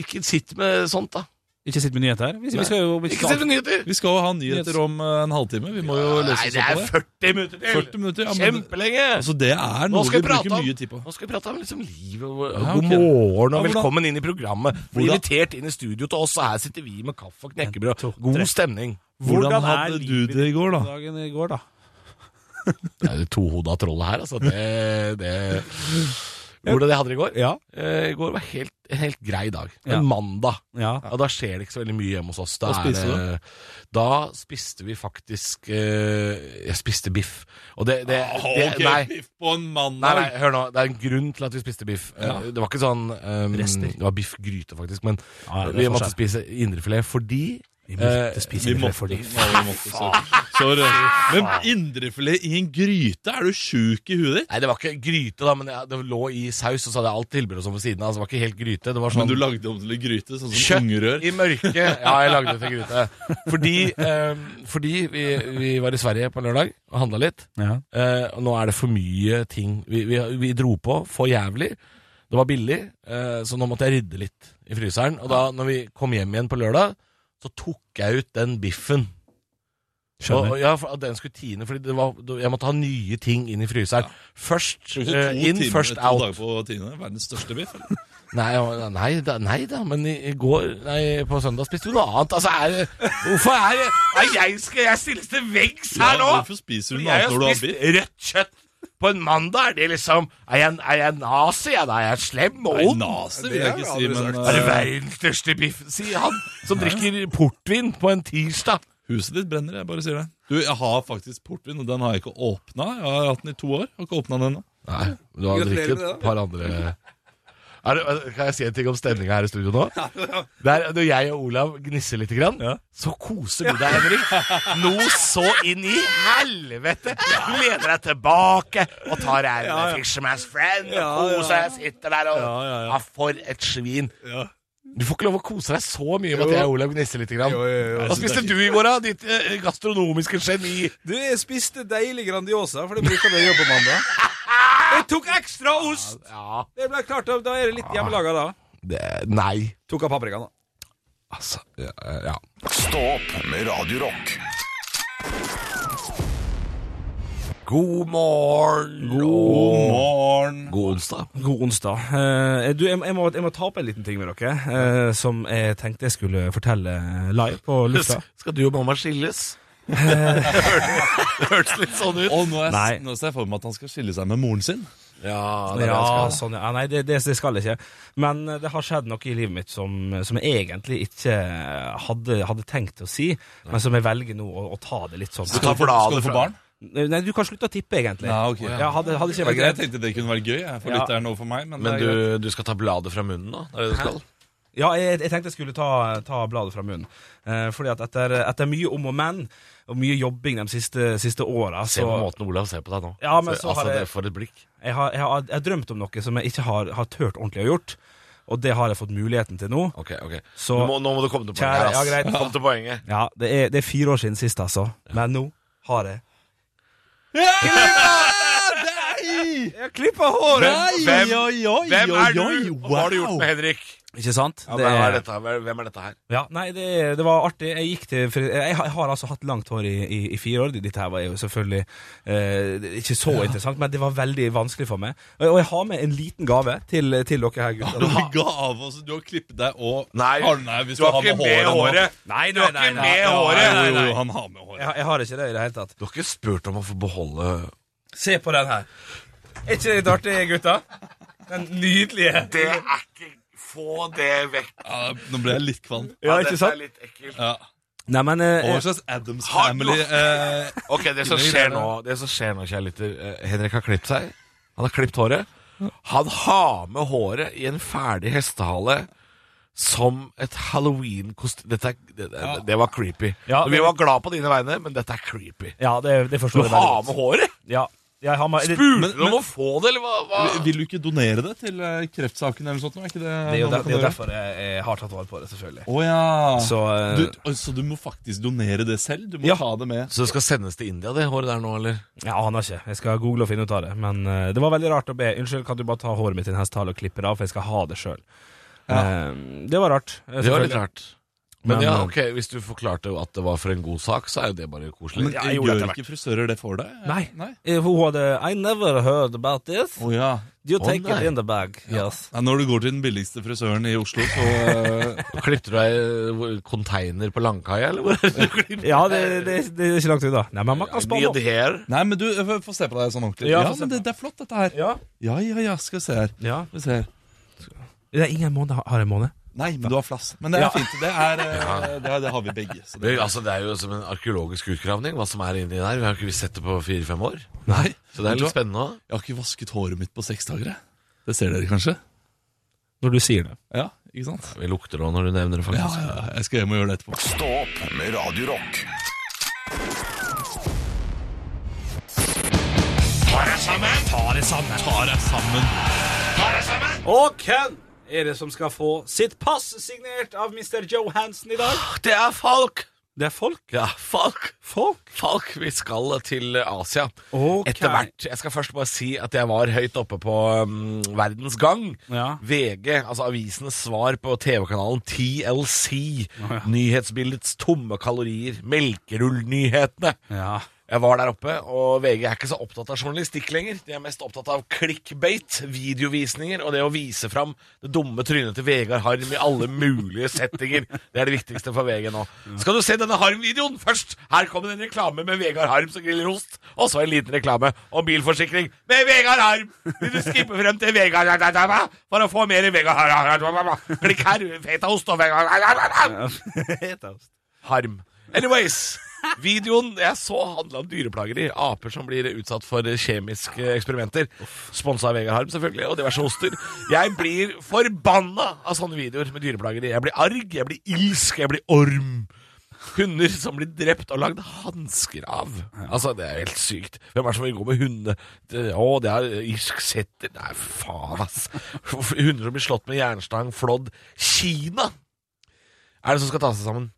ikke sitt med sånt, da.
Ikke sitt med nyheter. Vi, vi skal jo om
Ikke sitt med nyheter!
Vi skal jo ha nyheter om eh, en halvtime. Vi må jo løse
Nei,
oss
det
opp
er
på det.
40 minutter til!
40 minutter, ja, men-
Kjempelenge!
Altså, det er
Nå
noe
skal
vi
jeg prate
bruker
om
mye tid på.
Nå skal vi prate om liksom livet og
Ja,
god
ok.
morgen og
Ja, hvordan-
velkommen inn i programmet. Bli
Hvordan-
invitert inn i studio til oss, og her sitter vi med kaffe og knekkebrød. God stemning.
Hvordan hadde du det i går, da?
Dagen i går, da.
Det er det tohoda trollet her, altså. Det, det Hvordan jeg hadde det i går?
Ja.
Eh, I går var helt, en helt grei dag. En
Ja.
mandag.
Ja.
Ja, Da skjer det ikke så veldig mye hjemme hos oss. Da
Hva
er
spiste
det- Da spiste vi faktisk eh, Jeg spiste biff. Og det, det,
Ah,
det
Ah, Ok,
Nei.
biff på en
Nei,
mandag.
nei, hør nå. Det er en grunn til at vi spiste biff. Eh, Det var ikke sånn um,
Rester.
Det var biffgryte, faktisk. Men
Ja, ja, det er
vi
forskjell.
måtte spise indrefilet fordi eh,
Vi måtte, alle måtte sorry. Sorry. Men indrefilet i en gryte? Er du sjuk i huet ditt?
Nei, det var ikke gryte, da, men jeg- det lå i saus, og så hadde jeg alt tilbudet som ved siden av. Så det var ikke helt gryte. Det var
Men
sånn
du lagde om til en gryte, sånn som ungerør.
Kjøtt i mørket. Ja, jeg lagde det til gryte. Fordi, eh, fordi vi, vi var i Sverige på lørdag og handla litt.
Ja.
Eh, og nå er det for mye ting. Vi, vi, vi dro på for jævlig. Det var billig, eh, så nå måtte jeg rydde litt i fryseren. Og da når vi kom hjem igjen på lørdag, så tok jeg ut den biffen. Og,
Skjønner.
og, ja, for, at den skulle tine, Fordi det var, jeg måtte ha nye ting inn i fryseren. Først
Brukte
eh,
to
inn,
timer-
først
to
out.
dager på tiende. Verdens største biff. eller?
Nei, ja, nei, da, nei da, men i, i går Nei, på søndag spiste du noe annet. Altså, er det Hvorfor er det Nei, jeg skal jeg stilles til veggs her nå?
Ja, hvorfor spiser du noe
Jeg
annet
har
når du har
spist
biff?
rødt kjøtt på en mandag. Er det liksom Er jeg, er jeg nazi? Ja, da er jeg slem og
Nei,
ond.
naser vil jeg ikke si,
aldri
men
Er det
eh,
verdens største biff, sier han, som drikker portvin på en tirsdag.
huset ditt brenner. Jeg bare sier det. Du, jeg har faktisk portvin, og den har jeg ikke åpna. Jeg har hatt den i to år. Har ikke åpna den ennå.
Nei, du har drukket et par andre er det, øh, Kan jeg si en ting om stemninga her i studio nå? Der, når jeg og Olav gnisser litt, grann, så koser du deg, Henrik. Noe så inn i helvete! Du lener deg tilbake og tar en Fisherman's Friend og koser deg. Sitter der og ja, For et svin. Du får ikke lov å kose deg så mye med at jeg og Olav gnisser litt. Grann. Hva spiste du i går, da? Ditt eh, gastronomiske geni.
Du, jeg spiste deilig Grandiosa, for det bruker vi å gjøre på mandag. Jeg tok ekstra ost!
Ja,
Det ble klart, da- Da er det litt hjemmelaga, da.
det, nei.
Tok av paprikaen, da.
Altså, ja, ja.
Stå opp med Radio Rock.
God morgen!
God morgen.
God onsdag.
God onsdag. Eh, du, jeg, jeg, må, jeg må ta opp en liten ting med dere, eh, som jeg tenkte jeg skulle fortelle eh, live på lufta.
Skal du og mamma skilles? det hørtes litt sånn ut.
Og nå er
Nei.
jeg- nå ser jeg for meg at han skal skille seg med moren sin.
Ja, det er det jeg
Ja,
skal.
sånn, ja. Nei, det, det, det skal jeg ikke. Men eh, det har skjedd noe i livet mitt som, som jeg egentlig ikke eh, hadde, hadde tenkt å si, men som jeg velger nå å, å ta det litt sånn.
Du tar bladet
skal du få
fra-
barn?
Nei, du kan slutte å tippe, egentlig.
Ja, ok.
Ja, hadde, hadde ikke
Jeg,
vært greit.
tenkte det kunne vært gøy jeg, for
Ja.
lytteren og for meg. Men, det
Men
er greit.
du, du skal ta bladet fra munnen nå? Det er det du skal?
Ja, jeg, jeg tenkte jeg skulle ta, ta bladet fra munnen. Eh, fordi at etter, etter mye om og men, og mye jobbing de siste, siste åra,
Se
så
på måten Olav ser på deg nå.
Ja, men
Se-
så har
altså,
jeg-
det For et blikk.
jeg har, jeg, har, jeg har drømt om noe som jeg ikke har, har tørt ordentlig å gjort. og det har jeg fått muligheten til nå.
Ok, ok
Så-
nå, må, nå må du komme til poenget.
Kjære-
her, ass.
ja, greit.
Kom til poenget.
Ja, det er, det er fire år siden sist, altså. Men nå har jeg Klippa! Jeg klippa håret!
Hvem-
oi, oi,
Hvem er du?
oi, oi,
Og Hva har du gjort med Henrik?
Ikke sant?
Ja,
Det
hvem,
er-
er dette? her? hvem er dette her?
Ja, nei, det, det var artig. Jeg gikk til fri- Jeg har, jeg har altså hatt langt hår i, i, i fire år. Dette her var jo selvfølgelig eh, det- ikke så interessant, men det var veldig vanskelig for meg. Og, og jeg har med en liten gave til, til dere her,
Du
gutter.
har ga av oss, du har klippet deg og
Nei,
Har- nei, hvis
du har ikke
med
med håret.
Nei,
Du har ikke med håret.
Nei, jo, jo, han har med
Jeg,
håret.
har- jeg har ikke det i det hele tatt.
Du har ikke spurt om å få beholde
Se på den her. Er ikke det litt artig, gutta? Den nydelige.
Det er ikke Få det vekk.
Ja, nå ble jeg litt kvalm.
Ja, ikke
dette er
sant?
litt ekkelt.
Ja.
Nei, men eh,
Og Hva slags Adams
Har du-
Family eh,
Ok, det som
Innlegg
skjer
der,
nå, det som skjer nå, kjære lytter eh, Henrik har klippet seg. Han har klippet håret. Han har med håret i en ferdig hestehale som et halloween-kostyme. Dette er, det, det, det var creepy.
Ja,
Vi
men-
var glad på dine vegne, men dette er creepy.
Ja, det, det
Du
forstår jeg
har
veldig
med
godt.
håret!
Ja, jeg har med, det,
Spurte
men-
du om å få det, eller hva? hva?
Vil du ikke donere det til eh, kreftsaken eller noe sånt? nå? Er ikke det,
det er
noe
jo der,
man
det er jo
kan gjøre?
derfor jeg, jeg har tatt vare på det, selvfølgelig.
Å ja.
Så, eh,
du, og så du må faktisk donere det selv? Du må
Ja.
ta det med?
Så det skal sendes til India, det håret der nå, eller?
Jeg aner ikke. Jeg skal google og finne ut av det. Men eh, det var veldig rart å be Unnskyld, kan du bare ta håret mitt i en hestehale og klippe det av, for jeg skal ha det sjøl. det var rart. eh,
Det var
selvfølgelig.
litt rart. Men,
Men,
ja,
eh,
ok, hvis du forklarte at det var for en god sak, så er jo det bare koselig.
Men
Ja, jeg gjorde
gjør
det etter
ikke frisører det for deg?
Nei.
Nei.
Eh, Hun hadde I never heard about this.
Å ja.
You
Å,
take
nei.
it in the bag. Yes.
Nei, når du går til den billigste frisøren i Oslo, så eh,
Klippte du deg eh, container på Langkaia, eller hvor er det du klippte
Ja, det, det, det er ikke langt unna. Nei, men man kan
Need
spare opp.
hair.
Nei, men du, eh, få- få se på deg sånn ordentlig.
Ja,
Ja,
få se
men
på
det, det er flott, dette her.
Ja.
Ja, ja, ja, skal vi se her.
ja.
Skal vi se her.
Det er ingen måned. Har jeg en måned?
Nei, men du har flass. Men det er
Ja.
fint. Det, er, eh, det, er- det har vi begge. Så
Det,
det,
altså, det er jo som en arkeologisk utgravning, hva som er inni der. Vi har ikke sett det på fire-fem år.
nei,
Så det er litt spennende òg.
Jeg har ikke vasket håret mitt på seks dager. jeg. Det ser dere kanskje?
Når du sier det.
Ja, ikke sant?
Vi lukter det òg når du nevner det,
Ja,
faktisk.
ja, jeg skal hjem og gjøre det etterpå.
Stå opp med Radio Rock.
Ta deg sammen.
Og hvem er det som skal få sitt pass signert av Mr. Johansen i dag?
Det er Falk!
Det er folk.
Ja, Falk.
Folk.
Falk, vi skal til Asia.
Ok.
Etter hvert. Jeg skal først bare si at jeg var høyt oppe på um, Verdens Gang.
Ja.
VG, altså avisenes svar på TV-kanalen TLC. Nyhetsbildets tomme kalorier. Melkerullnyhetene.
Ja.
Jeg var der oppe, og VG er ikke så opptatt av journalistikk lenger. De er mest opptatt av clickbait, videovisninger og det å vise fram det dumme trynet til Vegard Harm i alle mulige settinger. Det er det viktigste for VG nå. Skal du se denne Harm-videoen først? Her kommer en reklame med Vegard Harm som griller ost, og så en liten reklame om bilforsikring med Vegard Harm! Vil du skippe frem til Vegard for å få mer Vegard Harm? Klikk her, fetaost og Vegard Harm. Anyways, videoen jeg så handla om dyreplageri. Aper som blir utsatt for kjemiske eksperimenter. Sponsa av Vegard Harm, selvfølgelig, og diverse oster. Jeg blir forbanna av sånne videoer med dyreplageri. Jeg blir arg, jeg blir ilsk, jeg blir orm. Hunder som blir drept og lagd hansker av. Altså, Det er helt sykt. Hvem er det som vil gå med hunde... Det- Å, det er irsk setter Nei, faen, ass. Hunder som blir slått med jernstang, flådd. Kina er det som skal ta seg sammen.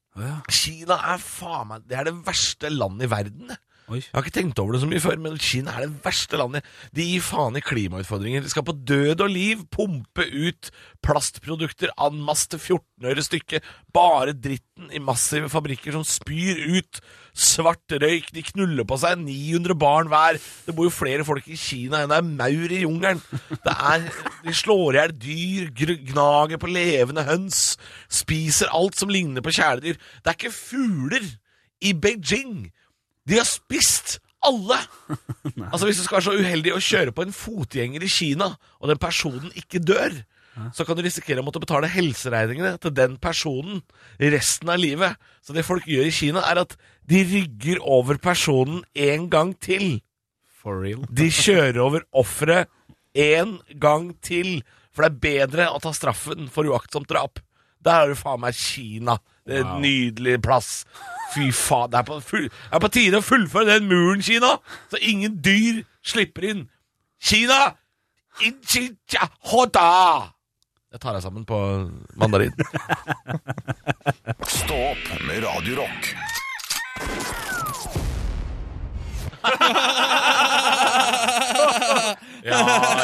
Kina er faen meg Det er det verste landet i verden.
Oi.
Jeg har ikke tenkt over det så mye før, men Kina er det verste landet. De gir faen i klimautfordringer. De skal på død og liv pumpe ut plastprodukter en masse til 14 øre stykket. Bare dritten i massive fabrikker som spyr ut svart røyk. De knuller på seg 900 barn hver. Det bor jo flere folk i Kina enn det er maur i jungelen. Det er, de slår i hjel dyr, gr- gnager på levende høns, spiser alt som ligner på kjæledyr. Det er ikke fugler i Beijing. De har spist alle! altså Hvis du skal være så uheldig å kjøre på en fotgjenger i Kina, og den personen ikke dør, så kan du risikere å måtte betale helseregningene til den personen resten av livet. Så det folk gjør i Kina, er at de rygger over personen en gang til.
For real.
De kjører over offeret en gang til. For det er bedre å ta straffen for uaktsomt drap. Der har du faen meg Kina. Det er en nydelig plass. Fy faen. Det er, på full, det er på tide å fullføre den muren, Kina, så ingen dyr slipper inn. Kina! Inchicha hoda! Jeg tar deg sammen på mandarin.
Stå opp med Radio Rock.
ja,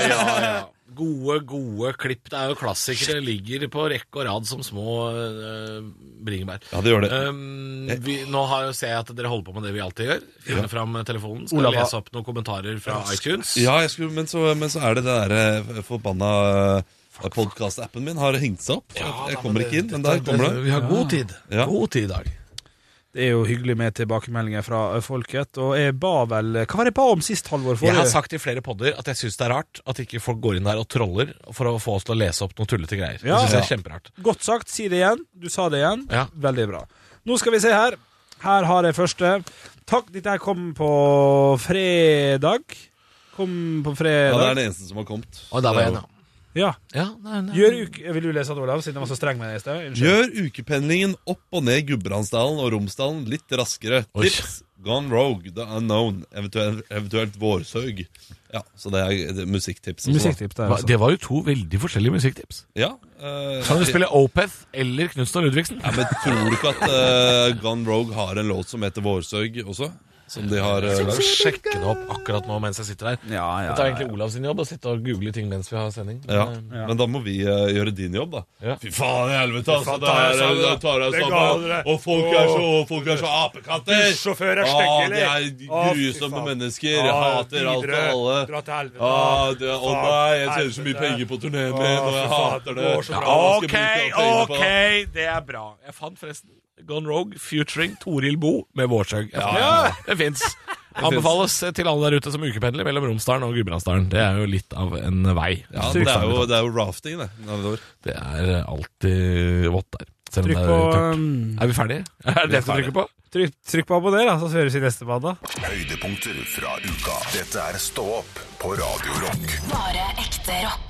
ja, ja. Gode, gode klipp. Det er jo klassikere. Ligger på rekke og rad som små eh, bringebær.
Ja, det gjør det.
Um, vi, nå har jo, ser jeg at dere holder på med det vi alltid gjør. Finne fram telefonen. Skal
Olav har-
lese opp noen kommentarer fra iTunes.
Ja, jeg skulle, men, så, men så er det det derre forbanna eh, podcast-appen min har hengt seg opp. jeg kommer ikke inn, men der kommer det.
Vi har god tid.
Ja.
God tid i dag.
Det er jo hyggelig med tilbakemeldinger fra ø, folket. Og jeg ba vel Hva var det jeg ba om sist halvår?
Jeg har
forrige?
sagt i flere podder at jeg syns det er rart at ikke folk går inn der og troller for å få oss til å lese opp noen tullete greier.
Ja.
Det synes jeg er kjemperart.
Godt sagt. Si det igjen. Du sa det igjen.
Ja.
Veldig bra. Nå skal vi se her. Her har jeg første. Takk, dette her kom på fredag. Kom på
Ja, det er
fredag.
den eneste som har kommet.
Og der var jeg, da.
Ja.
Ja, nei, nei.
Gjør uke... Vil du lese det, Olav, siden jeg var så streng med deg i sted? Unnskyld.
Gjør ukependlingen opp og ned Gudbrandsdalen og Romsdalen litt raskere.
Oi.
Tips Gone Rogue, The Unknown, eventuelt, eventuelt Vårsaug. Ja, så det er det er musikktipset.
Musikktips der,
Hva-
altså.
Det var jo to veldig forskjellige musikktips.
Ja, eh,
Kan du spille Opeth eller Knutsen og Ludvigsen?
ja, men tror du ikke at eh, Gone Rogue har en låt som heter Vårsaug også? Som de har eh,
Jeg skal
lagd?
sjekke det opp akkurat nå mens jeg sitter her.
Ja, ja,
Det er egentlig Olav sin jobb å sitte og google ting mens vi har sending.
Ja, men da må vi eh, gjøre din jobb, da.
Ja.
Fy faen i helvete, altså!
faen,
Det
tar jeg
er-
sammen, da.
det tar jeg
Det
sammen!
ga dere.
Og folk er så, folk er så apekatter!
Bussjåfører er
Ah,
stygge,
de
eller?
er
Å, fy
grusomme
faen.
mennesker. Jeg hater alt og alle.
Ah, til helvete.
Ah, det, å nei, jeg tjener så mye penger på turneen min, og jeg hater det.
Ja,
Hva skal jeg bruke
ok,
alt pengene på?
ok, det er bra. Jeg fant forresten Gone Rogue featuring Toril Bo med Vårsaug. Jeg fant
Ja.
den. Det fins. Anbefales til alle der ute som ukependler mellom Romsdalen og Gudbrandsdalen. Det er jo litt av en vei.
Ja, det er jo, det er jo rafting, det. nedover.
Det er alltid vått der. Selv om
Trykk
det
på,
er tørt.
um,
Er vi ferdige? Er det det jeg skal trykke på?
trykk, trykk på abonner, da, så høres vi neste mandag.
Høydepunkter fra uka. Dette er Stå opp på Radio Rock.
Bare ekte rock.